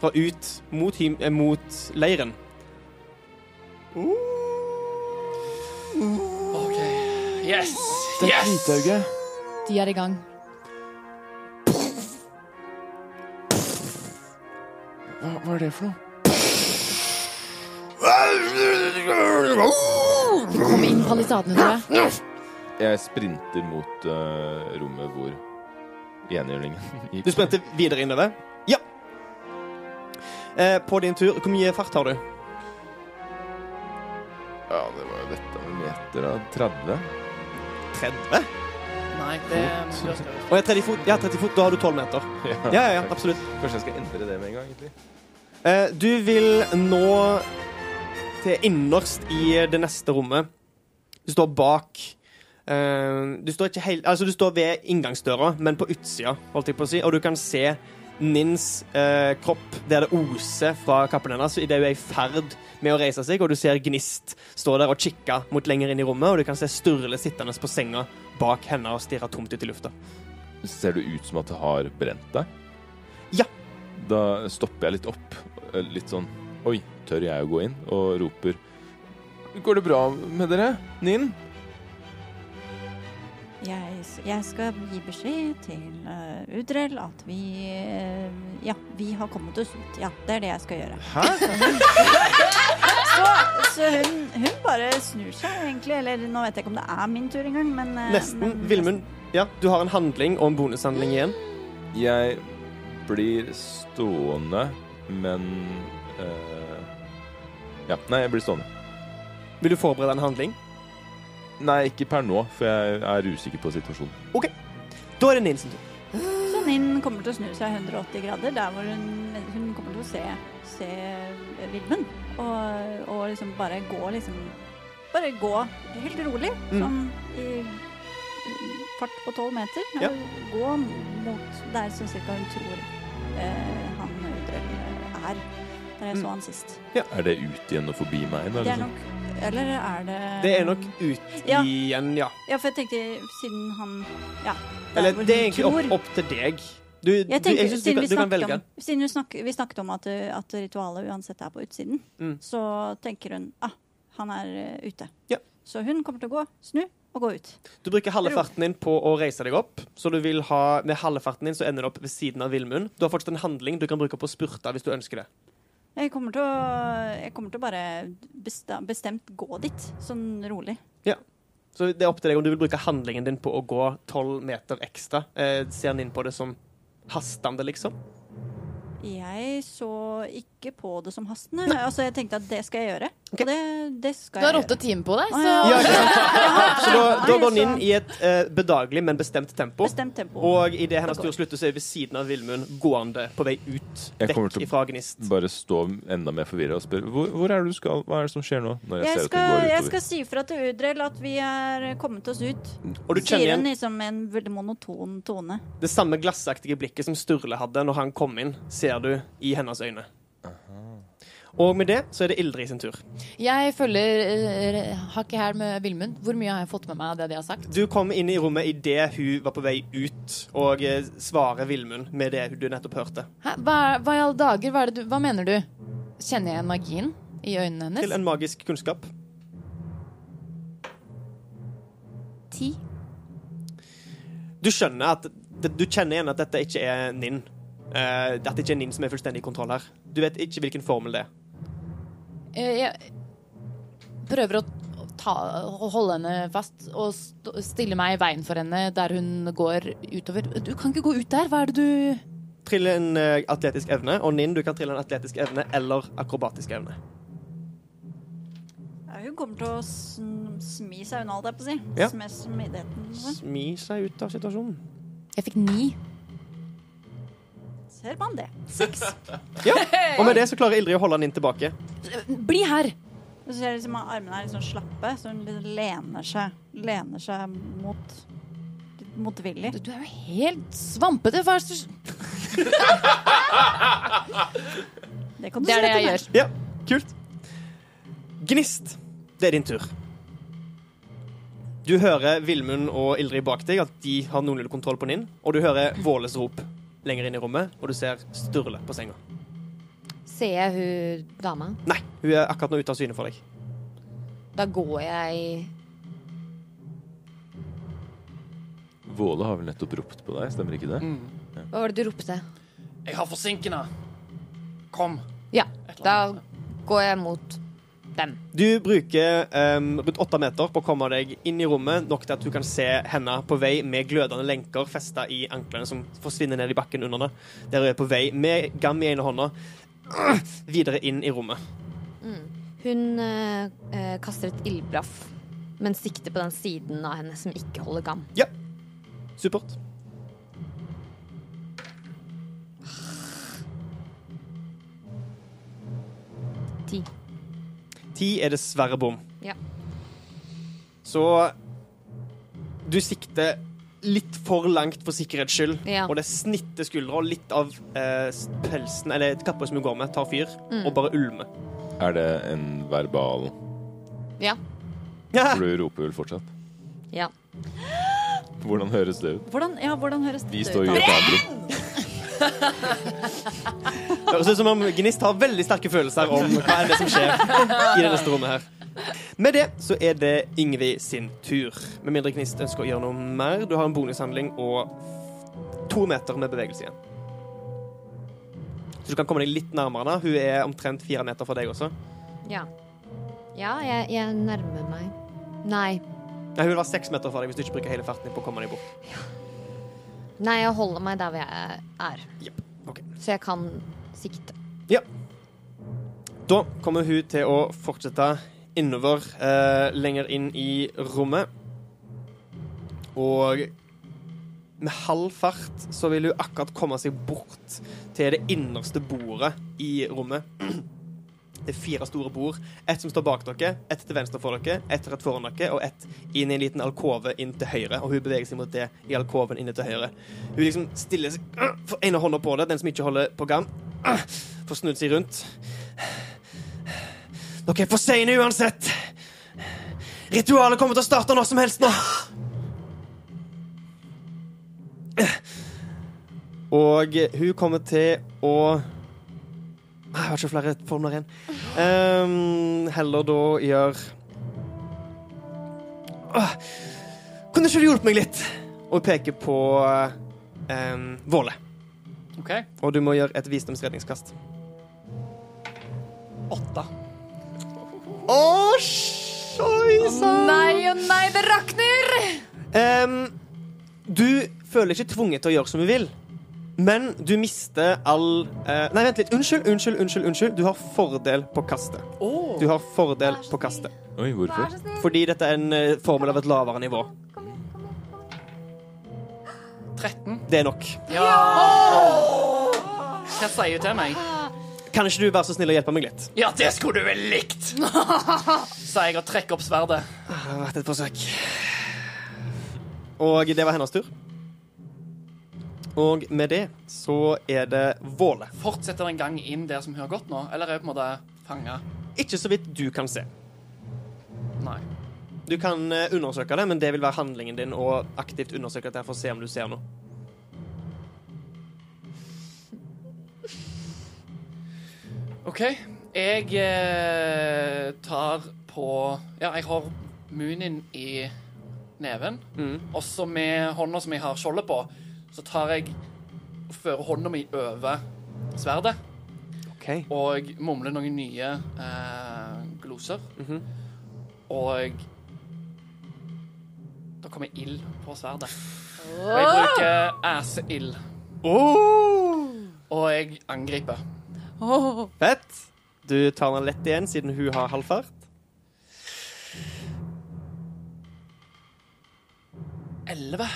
S4: fra ut mot, him, eh, mot leiren
S2: OK. Yes! Yes!
S5: De er i gang.
S6: Hva, hva er det for noe?
S5: Kom inn palisadene, tror jeg.
S6: Jeg sprinter mot eh, rommet hvor enhjørningen gikk.
S4: Du sprenter videre innover? Ja. Eh, på din tur Hvor mye fart har du?
S6: Ja, det var jo dette med meter av 30.
S4: 30?
S2: Nei, det det skal vi-
S4: Og jeg er 30 fot. Ja, 30 fot. Da har du 12 meter. Ja, ja, ja, absolutt.
S6: Kanskje jeg skal endre det med en gang, egentlig.
S4: Eh, du vil nå til innerst i det neste rommet. Du står bak eh, Du står ikke helt Altså, du står ved inngangsdøra, men på utsida, holdt jeg på å si, og du kan se Nins eh, kropp, der det oser fra kappen hennes idet hun er i ferd med å reise seg, og du ser Gnist stå der og kikke mot lenger inn i rommet, og du kan se Sturle sittende på senga bak henne og stirre tomt ut i lufta.
S6: Ser det ut som at det har brent deg?
S4: Ja.
S6: Da stopper jeg litt opp. eh, Litt sånn Oi, tør jeg å gå inn? Og roper Går det bra med dere, Nin?
S8: Jeg, jeg skal gi beskjed til eh, Udrell at vi eh, Ja, vi har kommet oss ut. Ja, det er det jeg skal gjøre.
S6: Hæ?
S8: Så, så hun, hun bare snur seg, egentlig. Eller nå vet jeg ikke om det er min tur engang, men eh,
S4: Nesten.
S8: men-
S4: Vilmund, ja, du har en handling og en bonushandling igjen.
S6: Jeg blir stående, men eh, Ja, nei, jeg blir stående.
S4: Vil du forberede en handling?
S6: Nei, ikke per nå, for jeg er usikker på situasjonen.
S4: Da er det Nins sin tur.
S8: Så Ninn kommer til å snu seg 180 grader, der hvor hun, hun kommer til å se, se Vilmund. Og, og liksom bare gå liksom Bare gå helt rolig,
S4: Mm.
S8: sånn i fart på tolv meter.
S4: Ja.
S8: Gå mot der som cirka hun tror eh, han Udrell er. der
S4: Mm.
S8: jeg så han sist.
S6: Er det ut igjen og forbi meg? Da,
S8: Det er
S6: liksom?
S8: nok Eller er det
S4: Det er nok ut
S8: Ja.
S4: igjen, ja.
S8: Ja, for jeg tenkte siden han Ja. der
S4: Eller
S8: hvor
S4: det er
S8: hun
S4: egentlig
S8: tror.
S4: opp, opp til deg. Du, du,
S8: Jeg tenker,
S4: jeg synes du,
S8: siden,
S4: kan-
S8: vi
S4: du kan
S8: snakket
S4: velge.
S8: om, siden vi, snakk, vi snakket om at, uh, at ritualet uansett er på utsiden,
S4: Mm.
S8: så tenker hun ah, han er uh, ute.
S4: Ja.
S8: Så hun kommer til å gå, snu og gå ut.
S4: Du bruker halve
S8: Ro.
S4: farten din på å reise deg opp. Så du vil ha, med halve farten din så ender du opp ved siden av Vilmund. Du har fortsatt en handling du kan bruke på å spurte hvis du ønsker det.
S8: Jeg kommer til å, jeg kommer til å bare besta- bestemt gå dit, sånn rolig.
S4: Så det er opp til deg om du vil bruke handlingen din på å gå tolv meter ekstra. Eh, ser han inn på det som hastende, liksom?
S8: Jeg så ikke på det som hastende. Altså, jeg tenkte at det skal jeg gjøre.
S4: Ok.
S8: Og det, det skal
S5: Du har
S8: jeg gjøre.
S5: åtte timer på deg,
S8: Å,
S5: så
S8: ja.
S4: Så da, da går han
S8: Nei,
S4: inn
S8: så-
S4: i et eh, bedagelig, men bestemt tempo.
S8: Bestemt tempo.
S4: Og idet hennes
S8: Da
S4: tur
S8: går.
S4: slutter, så er ved siden av Vilmund gående på vei ut.
S6: Jeg kommer
S4: Vekk
S6: til å-
S4: ifra Gnist.
S6: Bare stå enda mer forvirra og spørre hvor, hvor er det du skal? Hva er det som skjer nå? Når jeg,
S8: Jeg
S6: ser
S8: skal, jeg
S6: at den går utover.
S8: skal si fra til Udrell at vi er kommet oss ut.
S6: Mm.
S4: Og du
S8: Sier
S4: kjenner
S8: hun
S4: igjen
S8: liksom med en veldig monoton tone.
S4: det samme glassaktige blikket som Sturle hadde når han kom inn, ser du i hennes øyne. Og med det så er det Ildrid sin tur.
S5: jeg følger eh, hakket her med Vilmund. Hvor mye har jeg fått med meg av det de har sagt?
S4: Du kom inn i rommet idet hun var på vei ut, og eh, svarer Vilmund med det du nettopp hørte.
S5: Hæ? Hva, hva i alle dager? Hva, er det du, hva mener du? Kjenner jeg magien i øynene
S4: Til
S5: hennes?
S4: en magisk kunnskap.
S5: Ti.
S4: Du skjønner at det, Du kjenner igjen at dette ikke er Ninn. Eh, at det ikke er Ninn som er fullstendig i kontroll her. Du vet ikke hvilken formel det er.
S5: Eh, Jeg prøver å ta, å holde henne fast og st stille meg i veien for henne der hun går utover. Du kan ikke gå ut der! Hva er det du
S4: Trille en eh, atletisk evne, og Ninn, du kan trille en atletisk evne eller akrobatisk evne.
S8: Ja, hun kommer til å sn smi seg unna, holdt jeg på å si.
S4: Ja.
S8: Smi- smidigheten. liksom. sin.
S4: Smi seg ut av situasjonen.
S5: Jeg fikk ni.
S8: Ser man det. Seks.
S4: Og med det så klarer Ildrid å holde Ninn tilbake.
S5: Bli her!
S8: Og så ser jeg liksom at armene er litt sånn slappe, så hun liksom lener seg, lener seg mot litt motvillig.
S5: Du er jo helt svampete! Hva er det du
S8: Det kan du
S5: Det er det
S8: slette
S5: jeg
S8: med.
S5: gjør.
S4: Ja, kult. Gnist, det er din tur. Du hører Vilmund og Ildrid bak deg, at de har noenlunde kontroll på Ninn. Og du hører Våles rop lenger inn i rommet, og du ser Sturle på senga.
S7: Ser jeg hun dama?
S4: Nei, hun er akkurat nå ute av syne for deg.
S7: Da går jeg
S6: Våle har vel nettopp ropt på deg, stemmer ikke det?
S7: Hva var det du ropte?
S2: Jeg har forsinkende. Kom.
S7: Ja,
S2: Et eller
S7: da
S2: annet.
S7: går jeg mot dem.
S4: Du bruker ehm, rundt åtte meter på å komme deg inn i rommet, nok til at du kan se henne på vei med glødende lenker festa i anklene som forsvinner ned i bakken under henne. Der hun er på vei med gam i ene hånda øh, videre inn i rommet.
S7: Hun eh, eh, kaster et ildbraff, men sikter på den siden av henne som ikke holder gam.
S4: Supert.
S7: Ti.
S4: Ti er dessverre bom.
S7: Ja.
S4: Så du sikter litt for langt for sikkerhets skyld,
S7: Ja.
S4: og det snitter skuldra, og litt av eh, pelsen, eller kappa som hun går med, tar fyr, og bare ulmer.
S6: Er det en verbal
S7: Ja.
S6: For du roper vel fortsatt?
S7: Ja.
S6: Hvordan høres det ut?
S8: Hvordan, ja, hvordan høres
S6: Vi
S8: dette
S6: står jo i
S8: ut?
S6: et annet rom.
S4: <laughs> Det høres ut som om Gnist har veldig sterke følelser om hva er det som skjer i det neste rommet her. Med det så er det Ingrid sin tur. Med mindre Gnist ønsker å gjøre noe mer. Du har en bonushandling og to meter med bevegelse igjen. Så du kan komme deg litt nærmere. da. Hun er omtrent fire meter fra deg også.
S7: Ja, ja jeg, jeg nærmer meg. Nei.
S4: Nei, Hun vil være seks meter fra deg hvis du ikke bruker hele farten din på å komme deg bort.
S7: Nei, jeg holder meg der hvor jeg er.
S4: Jepp. Ok.
S7: Så jeg kan sikte.
S4: Da kommer hun til å fortsette innover, eh, lenger inn i rommet. Og med halv fart så vil hun akkurat komme seg bort til det innerste bordet i rommet. <clears throat> Det er fire store bord. Ett som står bak dere, ett til venstre for dere, ett rett foran dere, og ett inn i en liten alkove inn til høyre. Og hun beveger seg mot <clears throat> det i alkoven inne til høyre. Hun liksom stiller seg øh, for ene hånda på det, den som ikke holder på garn, <clears throat> Får snudd seg rundt. Dere er for seine uansett. Ritualet kommer til å starte når som helst nå. Og hun kommer til å Ah, Jeg har ikke flere formler igjen. Ehm, heller da gjør Åh, Kunne ikke du hjulpet meg litt? Og peker på ehm, Våle.
S2: OK.
S4: Og du må gjøre et visdomsredningskast.
S2: Åtte.
S4: Å, sjoi sann!
S7: Nei og nei, det rakner!
S4: Ehm, du føler ikke tvunget til å gjøre som du vil, men du mister all eh, Nei, vent litt. Unnskyld, unnskyld, unnskyld. unnskyld. Du har fordel på kastet. Du har fordel på kastet.
S6: Oi, hvorfor?
S4: Fordi dette er en eh, formel av et lavere nivå.
S2: 13.
S4: Det er nok.
S2: Ja! Hva sier du til meg?
S4: Kan ikke du være så snill å hjelpe meg litt?
S2: Ja, det skulle du vel likt!
S7: <laughs>
S2: Sa jeg og trekker opp sverdet.
S4: Det har vært et forsøk. Og det var hennes tur. Og med det så er det Våle.
S2: Fortsetter den gang inn der som hun har gått nå? Eller er hun på en måte fanga?
S4: Ikke så vidt du kan se.
S2: Nei.
S4: Du kan eh, undersøke det, men det vil være handlingen din å aktivt undersøke dette for å se om du ser noe.
S2: OK. Jeg eh, tar på Ja, jeg har Moonin i neven. Også med hånda som jeg har skjoldet på, så tar jeg og fører hånda mi over sverdet
S4: OK.
S2: og mumler noen nye eh, gloser. Og da kommer ild på sverdet. Og jeg bruker æseild, og jeg angriper.
S4: Fett. Du tar den lett igjen siden hun har halvfart.
S2: 11.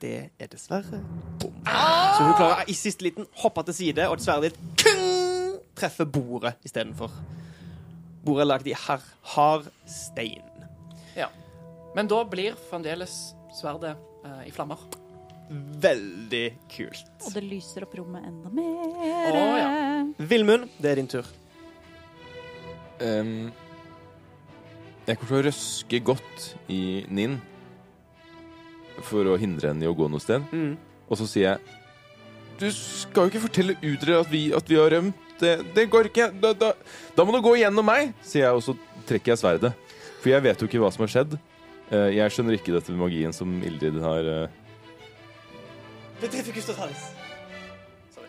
S4: Det er dessverre bom. Så hun klarer i siste liten hoppe til side, og sverdet ditt kung, treffer bordet istedenfor. Bordet er lagd i har, hard stein.
S2: Men da blir fremdeles sverdet eh, i flammer.
S4: Veldig kult.
S8: Og det lyser opp rommet enda mer.
S2: Å, ja.
S4: Vilmund, det er din tur.
S6: Ehm, jeg kommer til å røske godt i Ninn for å hindre henne i å gå noe sted. Og så sier jeg Du skal jo ikke fortelle Udre at vi, at vi har rømt. Det, det går ikke. Da, da, da må du gå gjennom meg, sier jeg, og så trekker jeg sverdet. For jeg vet jo ikke hva som har skjedd. Eh, Jeg skjønner ikke dette med magien som Ildrid har eh,
S4: Det treffer Gustav-Talis. Sorry.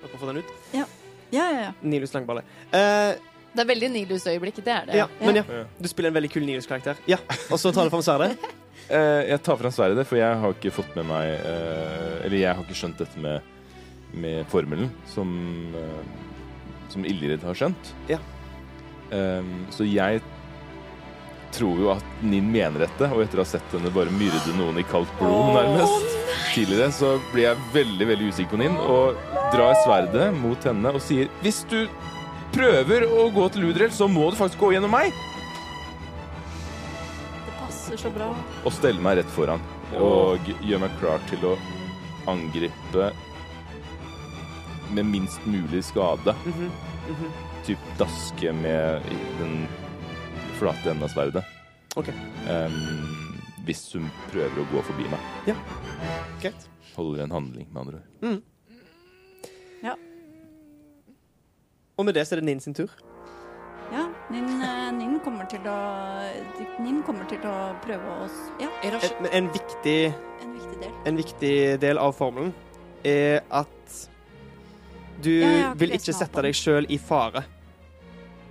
S4: Dere får den ut.
S8: Ja, ja, ja.
S4: Nilus Langballe. Eh,
S5: Det er veldig Nilus-øyeblikk. Det er det.
S4: ja, men ja. Du spiller en veldig kul Nilus-karakter. Ja, Og så tar du fram sverdet.
S6: Eh, jeg tar fram sverdet, for jeg har ikke fått med meg eh, Eller jeg har ikke skjønt dette med, med formelen som, uh, som Ildrid har skjønt.
S4: Ja.
S6: Eh, så jeg tror jo at Ninn mener dette, og etter å ha sett henne bare myrde noen i kaldt blod nærmest tidligere, så blir jeg veldig veldig usikker på Ninn og drar sverdet mot henne og sier Hvis du prøver å gå til Ludrell, så må du faktisk gå gjennom meg!
S8: Det passer så bra.
S6: og stelle meg rett foran. Og gjøre meg klar til å angripe med minst mulig skade. mhm. Typ daske med i den flate enden av sverdet.
S4: Ok.
S6: Ehm, hvis hun prøver å gå forbi meg.
S4: Ja. Greit.
S6: Holder en handling, med andre ord.
S4: Og med det så er det Nin sin tur.
S8: Ja, Ninn, eh, Ninn kommer til å Ninn kommer til å prøve å s- Ja,
S2: Er det
S4: En, men en, viktig,
S8: en viktig del.
S4: en viktig del av formelen er at du
S8: Ja, jeg har ikke
S4: vil ikke
S8: lest meg opp på
S4: sette
S8: den.
S4: deg sjøl i fare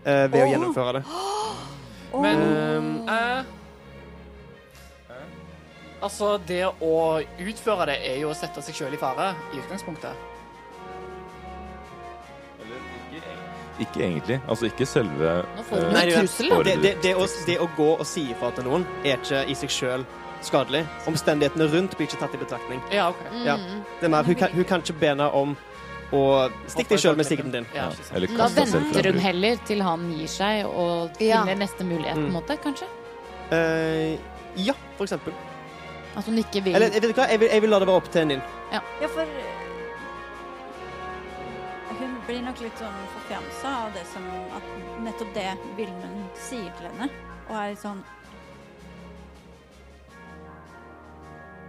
S4: eh, ved å
S8: Åh.
S4: gjennomføre det.
S8: Åh.
S2: Men eh, Altså, det å utføre det er jo å sette seg sjøl i fare i utgangspunktet.
S6: Ikke egentlig. Altså ikke selve
S5: Nå får du
S6: eh,
S5: noe
S4: Nei, det er-
S5: trussel.
S6: Bare
S4: det,
S6: du-
S4: det, det, å, det å gå og si ifra til noen er ikke i seg sjøl skadelig. Omstendighetene rundt blir ikke tatt i betraktning.
S2: Ja, OK.
S4: Ja. Det er mer, hun, kan, hun kan ikke be henne om å stikke deg sjøl med sigden din.
S6: ja,
S2: Ja, ikke sant.
S6: eller
S5: Da
S6: kaste selv fra
S5: venter hun
S6: bruk.
S5: heller til han gir seg og
S7: Ja.
S5: finner neste mulighet, på en
S4: Mm.
S5: måte, kanskje?
S4: Eh, ja, for eksempel.
S5: At hun ikke vil
S7: eh,
S4: Eller vet du hva? Jeg, vil, jeg vil la det være opp til Nin.
S8: Ja, for eh, blir nok litt sånn forfjamsa av det som At nettopp det Vilmund sier til henne, og er litt sånn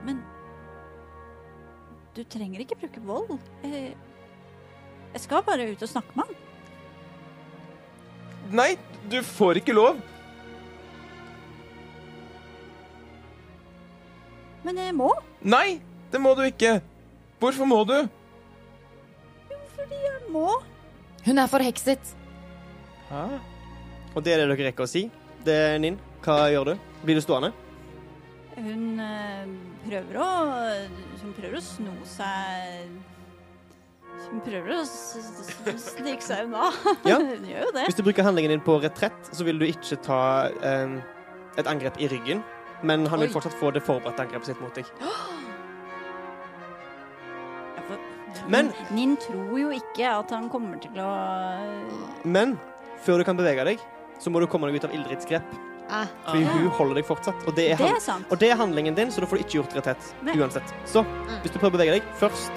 S8: Men du trenger ikke bruke vold. Jeg, jeg skal bare ut og snakke med han.
S6: Nei, du får ikke lov.
S8: Men jeg må.
S6: Nei, det må du ikke. Hvorfor må du?
S8: Jeg må.
S5: Hun er forhekset.
S4: Og det er det dere rekker å si. Det er Ninn. Hva gjør du? Blir du stående?
S8: Hun eh, prøver å Hun prøver å sno seg Hun prøver å s- s- s- snike seg unna.
S4: <laughs> Ja.
S8: Hun gjør jo det.
S4: Hvis du bruker handlingen din på retrett, så vil du ikke ta eh, et angrep i ryggen. Men han vil fortsatt få det forberedte angrepet sitt mot deg.
S8: Ja, for-
S4: Men-
S8: Nin tror jo ikke at han kommer til å
S4: Men før du kan bevege deg, så må du komme deg ut av Ildrids grep.
S7: Ah.
S4: Fordi hun holder deg fortsatt. Og det er,
S8: Det
S4: han
S8: er sant.
S4: og det er handlingen din, så da får du ikke gjort retrett.
S8: Nei.
S4: Uansett. Så hvis du prøver å bevege deg først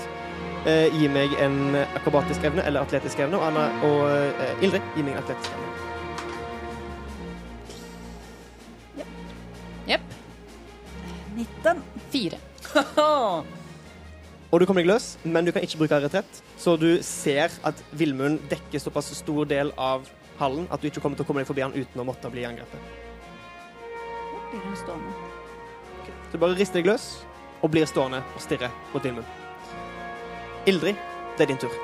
S4: eh, gi meg en akrobatisk evne eller atletisk evne. Og, Anna, og eh, Ildrid, gi meg en atletisk evne.
S5: Jepp.
S4: <laughs>
S8: 19.
S5: Fire.
S4: Og du kommer deg løs, men du kan ikke bruke retrett. Så du ser at Villmund dekker såpass stor del av hallen at du ikke kommer til å komme deg forbi han uten å måtte bli angrepet.
S8: Blir hun stående.
S4: Så du bare rister deg løs og blir stående og stirre mot Villmund. Ildrid, det er din tur.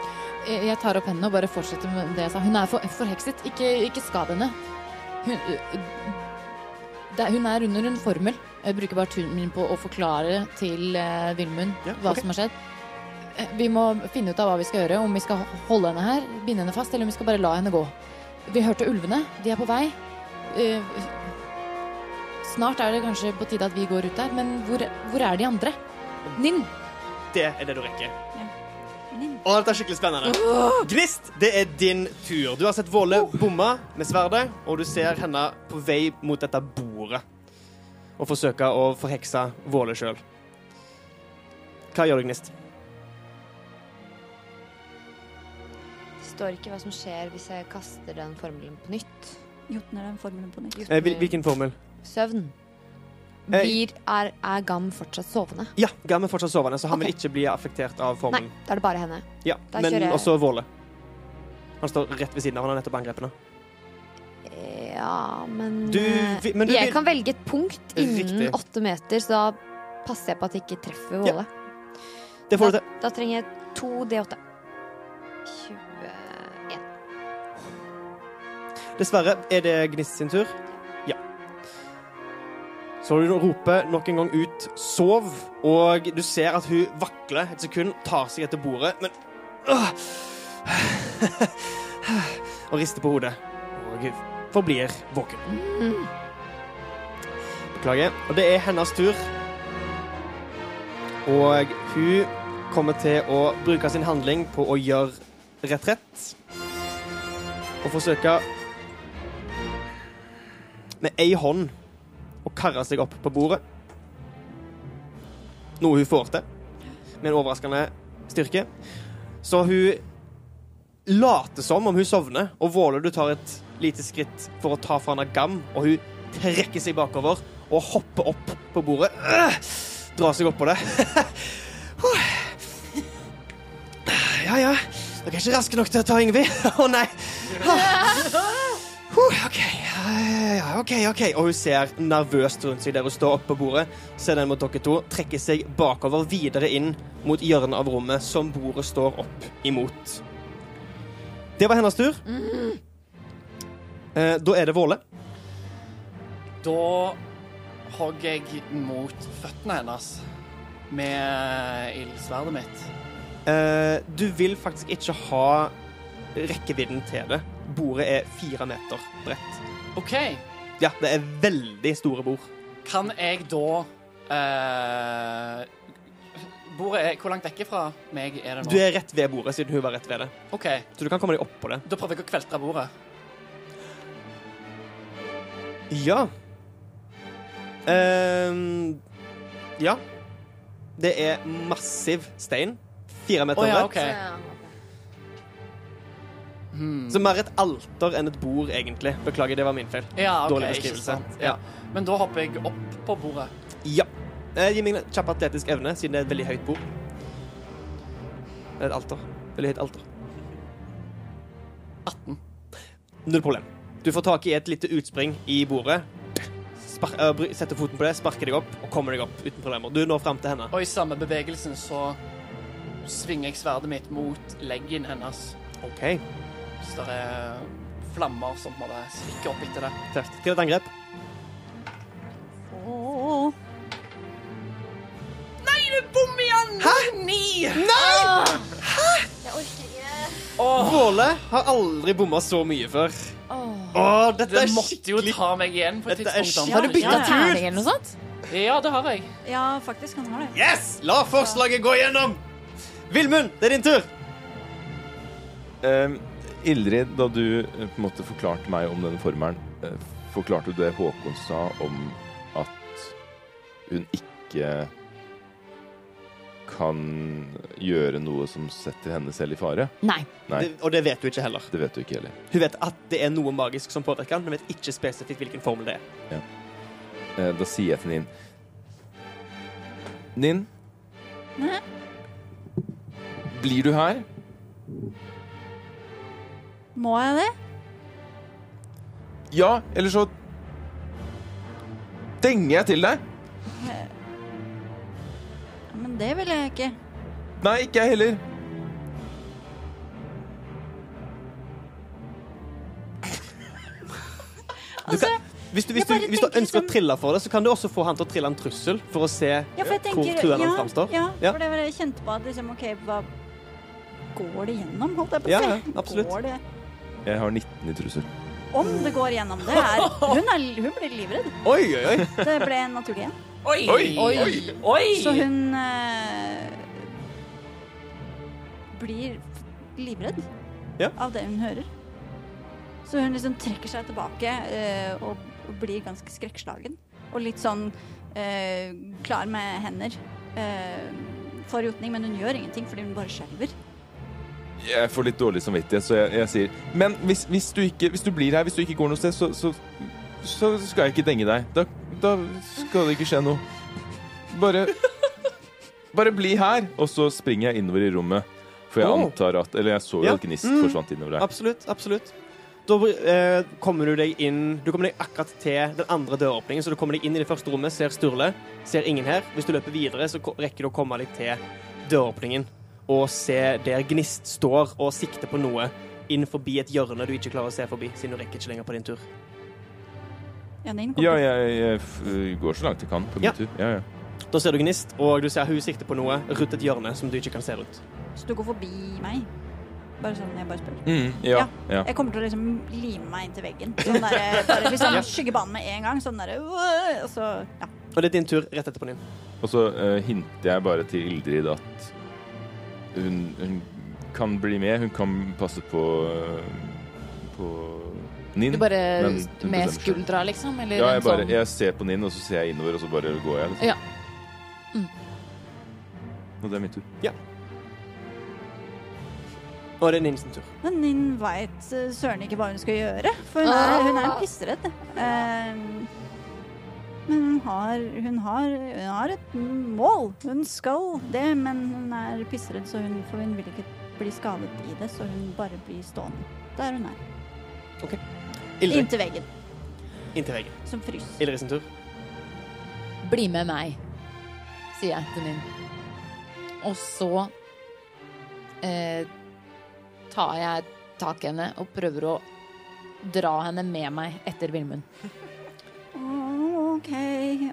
S5: Jeg jeg tar opp hendene og bare fortsetter med det jeg sa. Hun er for, forhekset. Ikke, ikke skad henne. Hun, øh, det, er- hun er under en formel. Jeg bruker bare turen min på å forklare til uh, Vilmund
S4: Ja,
S5: hva
S4: ok.
S5: som har skjedd. Eh, Vi må finne ut av hva vi skal gjøre. Om vi skal holde henne her, binde henne fast, eller om vi skal bare la henne gå. Vi hørte ulvene. De er på vei. Eh, snart er det kanskje på tide at vi går ut der, men hvor, hvor er de andre? Ninn!
S4: Det er det du rekker.
S8: Nin.
S4: Og dette er skikkelig spennende. Gnist, det er din tur. Du har sett Våle bomme med sverdet, og du ser henne på vei mot dette bordet og forsøke å forhekse Våle sjøl. Hva gjør du, Gnist? Eh,
S7: Det står ikke hva som skjer hvis jeg kaster den formelen på nytt.
S8: Jotner den formelen på nytt.
S4: Eh, hvil- hvilken formel?
S7: Søvn.
S4: Eh,
S7: Blir, er, er Gam fortsatt sovende?
S4: Ja, Gam er fortsatt sovende, så han
S7: Ok.
S4: vil ikke bli affektert av
S7: Nei,
S4: formelen.
S7: da er det bare henne.
S4: Ja,
S7: Da
S4: men
S7: kjører jeg-
S4: også Våle. Han står rett ved siden av. Han har nettopp angrepet henne.
S7: Ja, men,
S4: Du
S7: eh,
S4: vi- men du
S7: Jeg
S4: vil-
S7: kan velge et punkt innen
S4: Riktig.
S7: åtte meter, så da passer jeg på at jeg ikke treffer
S4: Ja,
S7: Våle.
S4: Det får du
S7: da,
S4: til.
S7: da trenger jeg to D8. 21.
S4: Dessverre er det Gnist sin tur. Ja. Så hun roper nok en gang ut 'sov', og du ser at hun vakler et sekund, tar seg etter bordet, men <sighs> Åh! Og rister på hodet. Og forblir våken. Beklager. Og det er hennes tur. Og hun kommer til å bruke sin handling på å gjøre retrett. Og forsøke med ei hånd og karre seg opp på bordet. Noe hun får til med en overraskende styrke. Så hun later som om hun sovner, og Våle, du tar et lite skritt for å ta fra henne gam, og hun trekker seg bakover og hopper opp på bordet. Øh! Drar seg opp på det. <laughs> Ja, ja. Dere er ikke raske nok til å ta Yngvi. <laughs> Å, nei. Huh, OK, ja, ja, ok, ok. Og hun ser nervøst rundt seg der hun står oppe på bordet. Ser den mot dere to, trekker seg bakover, videre inn mot hjørnet av rommet som bordet står opp imot. Det var hennes tur. Eh, da er det Våle.
S2: Da hogg jeg mot føttene hennes med ildsverdet mitt.
S4: Eh, du vil faktisk ikke ha rekkevidden til det. Bordet er fire meter bredt.
S2: OK,
S4: Ja, det er veldig store bord.
S2: kan jeg da eh, Bordet er Hvor langt vekk fra meg er det nå?
S4: Du er rett ved bordet, siden hun var rett ved det.
S2: OK,
S4: Så du kan komme deg opp på det.
S2: da prøver jeg å kveltre bordet.
S4: Ja. Ehm, ja. Det er massiv stein. Fire meter
S2: Å ja,
S4: bredt.
S2: OK. Hmm.
S4: Så mer et alter enn et bord, egentlig. Beklager, det var min feil.
S2: Ja, ok,
S4: Dårlig
S2: ikke
S4: beskrivelse.
S2: sant. Ja. Men da hopper jeg opp på bordet.
S4: Ja. Eh, Gi meg en kjapp atletisk evne, siden det er et veldig høyt bord. Det er et alter. Veldig høyt alter. 18. Null problem. Du får tak i et lite utspring i bordet. Spar eh, bry- setter foten på det, sparker deg opp og kommer deg opp uten problemer. Du når fram til henne.
S2: Og i samme bevegelsen så svinger jeg sverdet mitt mot leggen hennes.
S4: OK.
S2: Så det er flammer som på en måte stikker opp etter det.
S4: Tøft. Til et angrep.
S8: Åh.
S2: Nei, du bom igjen! Hæ? Ni!
S4: Våle har aldri bomma så mye før. Åh,
S2: Du
S4: dette er
S2: måtte jo
S4: skikkelig
S2: ta meg igjen på et
S4: Dette er
S2: tidspunkt.
S4: Har du byttet
S8: Ja, ja.
S5: terning eller noe sånt?
S2: tur? Ja, det har jeg.
S8: Ja, faktisk, han har det.
S4: Yes! La forslaget gå gjennom! Vilmund, det er din tur.
S6: Ehm, Ildrid, da du eh, på en måte forklarte meg om denne formelen, eh, forklarte du det Håkon sa om at hun ikke kan gjøre noe som setter henne selv i fare?
S5: Nei.
S6: Nei.
S4: Det, og det vet du ikke heller.
S6: Det vet du ikke heller.
S4: Hun vet at det er noe magisk som påvirker han, men vet ikke spesifikt hvilken formel det er.
S6: Eh, Da sier jeg til Ninn Ninn,
S8: Nei.
S6: blir du her?
S8: Må jeg det?
S6: Ja, eller så denger jeg til deg.
S8: Ja, Men det vil jeg ikke.
S6: Nei, ikke jeg heller.
S4: Du kan, hvis du, hvis
S8: Altså, jeg
S4: du,
S8: bare
S4: hvis du
S8: tenker
S4: ønsker
S8: liksom-
S4: å trille for det, så kan du også få han til å trille en trussel for å se
S8: Ja, for jeg
S4: hvor
S8: tenker
S4: truende
S8: ja,
S4: han framstår.
S8: Ja,
S4: Ja.
S8: for det var det jeg kjente på at liksom, OK, hva går det gjennom, holdt jeg på å
S4: Ja,
S8: si?
S4: ja, absolutt.
S8: Går det,
S6: Jeg har 19 i trussel.
S8: om det går gjennom. Det er, hun, er, hun blir livredd.
S4: Oi, oi, oi.
S8: Det ble en naturlig en.
S2: Oi!
S5: Oi.
S8: Så hun eh, blir livredd
S4: Ja.
S8: av det hun hører. Så hun liksom trekker seg tilbake eh, og, og blir ganske skrekkslagen. Og litt sånn eh, klar med hender eh, for jotning, men hun gjør ingenting fordi hun bare skjelver.
S6: Jeg får litt dårlig samvittighet, så jeg, jeg sier Men hvis, hvis, du ikke, hvis du blir her, hvis du ikke går noe sted, så, så, så skal jeg ikke denge deg. Da, da skal det ikke skje noe. Bare Bare bli her! Og så springer jeg innover i rommet. For jeg
S4: Åh.
S6: antar at Eller jeg så jo
S4: Ja.
S6: at gnist
S4: Mm.
S6: forsvant innover der.
S4: Absolutt. Absolutt. Da eh, kommer du deg inn Du kommer deg akkurat til den andre døråpningen, så du kommer deg inn i det første rommet, ser Sturle, ser ingen her. Hvis du løper videre, så ko- rekker du å komme deg til døråpningen og se der Gnist står og sikter på noe inn forbi et hjørne du ikke klarer å se forbi, siden du rekker ikke lenger på din tur.
S8: Janine kom
S6: Ja,
S8: til-
S6: jeg, jeg f- går så langt jeg kan på min
S4: Ja.
S6: tur. Ja, ja.
S4: Da ser du gnist, og du ser hun sikter på noe rundt et hjørne som du ikke kan se rundt.
S8: Så du går forbi meg? Bare sånn, jeg bare spør.
S6: Mm, ja, ja.
S8: Jeg kommer til å liksom lime meg inntil veggen. Sånn der, bare liksom skygge banen med en gang. Sånn derre øh, Og så ja.
S4: Og det er din tur rett etterpå, Nin.
S6: Og så eh, hinter jeg bare til Ildrid at hun, hun kan bli med. Hun kan passe på eh, på Ninn.
S5: Du bare
S6: Men hun
S5: med
S6: bestemmer selv.
S5: skuldra, liksom? Eller
S6: Ja,
S5: en
S6: jeg, bare,
S5: sånn
S6: jeg ser på Ninn, og så ser jeg innover, og så bare går jeg. Liksom.
S5: Ja. Mm.
S6: Og det er min tur.
S4: Og det er Nin sin tur.
S8: Men Nin veit eh, søren ikke hva hun skal gjøre. For hun
S7: Ah.
S8: er, hun er en pisseredd. Ehm, men hun har, hun, har, hun har et mål. Hun skal det, men hun er pisseredd, så hun, for hun vil ikke bli skadet i det. Så hun bare blir stående der hun er.
S4: Ildrid
S8: Inntil veggen,
S4: inntil veggen.
S8: som fryser.
S4: Ildrid sin tur.
S5: Bli med meg, sier jeg til min. Og så eh, tar jeg tak i henne og prøver å dra henne med meg etter Vilmund.
S8: OK,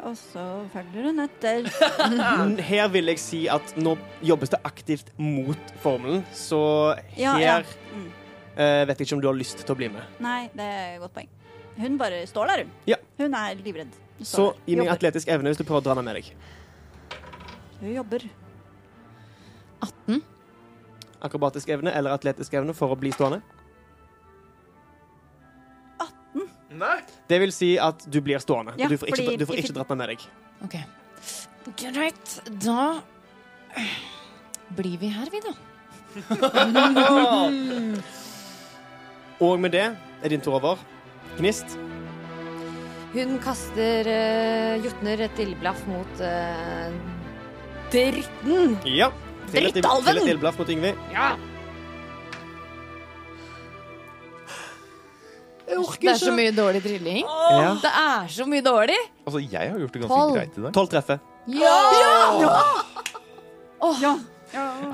S8: og så følger hun etter.
S4: Men <laughs> Her vil jeg si at nå jobbes det aktivt mot formelen, så her
S8: Ja, ja. Mm.
S4: eh, vet jeg ikke om du har lyst til å bli med.
S8: Nei, det er et godt poeng. Hun bare står der, hun.
S4: Ja.
S8: Hun er livredd. Hun står
S4: Så
S8: der.
S4: gi meg
S8: Jobber.
S4: atletisk evne hvis du prøver å dra henne med deg.
S8: Hun jobber.
S5: 18.
S4: Akrobatisk evne eller atletisk evne for å bli stående.
S8: 18.
S4: Det vil si at du blir stående.
S8: Ja,
S4: du får ikke,
S8: fordi-
S4: du får ikke dratt henne med deg.
S5: OK. Greit. Da blir vi her, vi, da.
S4: Og med det er din tur over. Gnist.
S7: Hun kaster eh, Jotner et ildblaff mot eh, dritten.
S4: Ja. Til et-
S7: Drittalven!
S4: Til et ildblaff mot Yngvi.
S5: Det er så mye dårlig drilling.
S4: Ja.
S5: Det er så mye dårlig!
S6: Altså, jeg har gjort det ganske
S5: Tolv.
S6: greit i dag.
S4: Tolv treffer.
S8: Ja.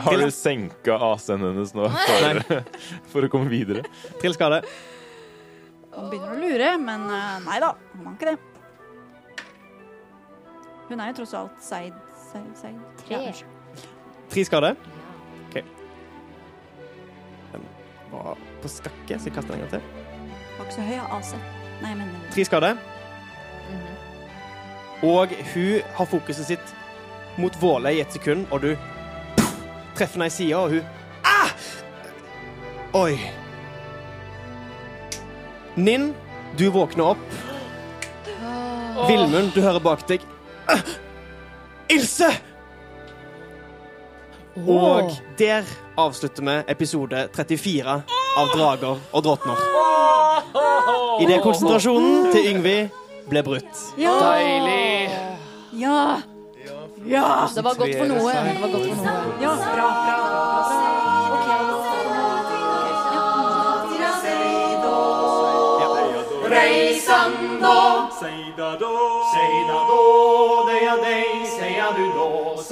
S6: Har du senka AC-en hennes nå for, <laughs> for å komme videre?
S4: Trill skade.
S8: Han begynner å lure, men eh, nei da, han var ikke det. Hun er jo tross alt seid. seid, seid. Ja,
S7: Tre.
S8: unnskyld.
S4: Tre skade. Den var på skakke, så jeg kaster den en gang til.
S8: Var ikke så høy av AC. Nei, jeg mener
S4: Tre skade. Og hun har fokuset sitt mot Våle i et sekund, og du treffer henne i sida, og hun ah! Oi. Ninn, du våkner opp. Vilmund, du hører bak deg. Ah! Ilse! Og der avslutter vi episode 34 av Drager og drottner. Idet konsentrasjonen til Yngvi ble brutt.
S2: Deilig.
S8: Ja!
S5: Det var godt for noe. Det var godt for noe.
S8: Ja, bra, bra.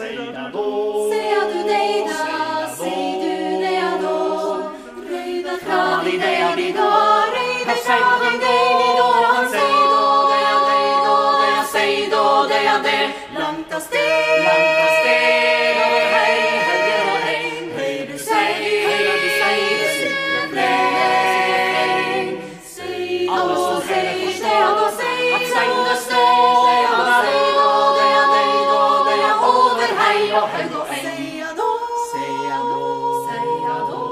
S3: Seia du dei da, sei du dei a do Rei da fra di dei a di do Rei da fra di dei di do Han sei do dei a dei do dei a sei do dei a de Langt av sted Langt av sted Og hei, hei og hei Hei du sei, hei du sei Du sitter fleng Sei do, sei Sei a do, sei At sei do, sei Sei a do, sei do Dei a dei do Dei a over hei og hei og hei Sei a do, sei a do Sei a do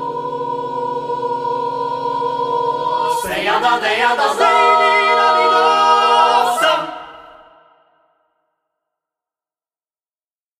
S3: Sei a da, dei a da, sei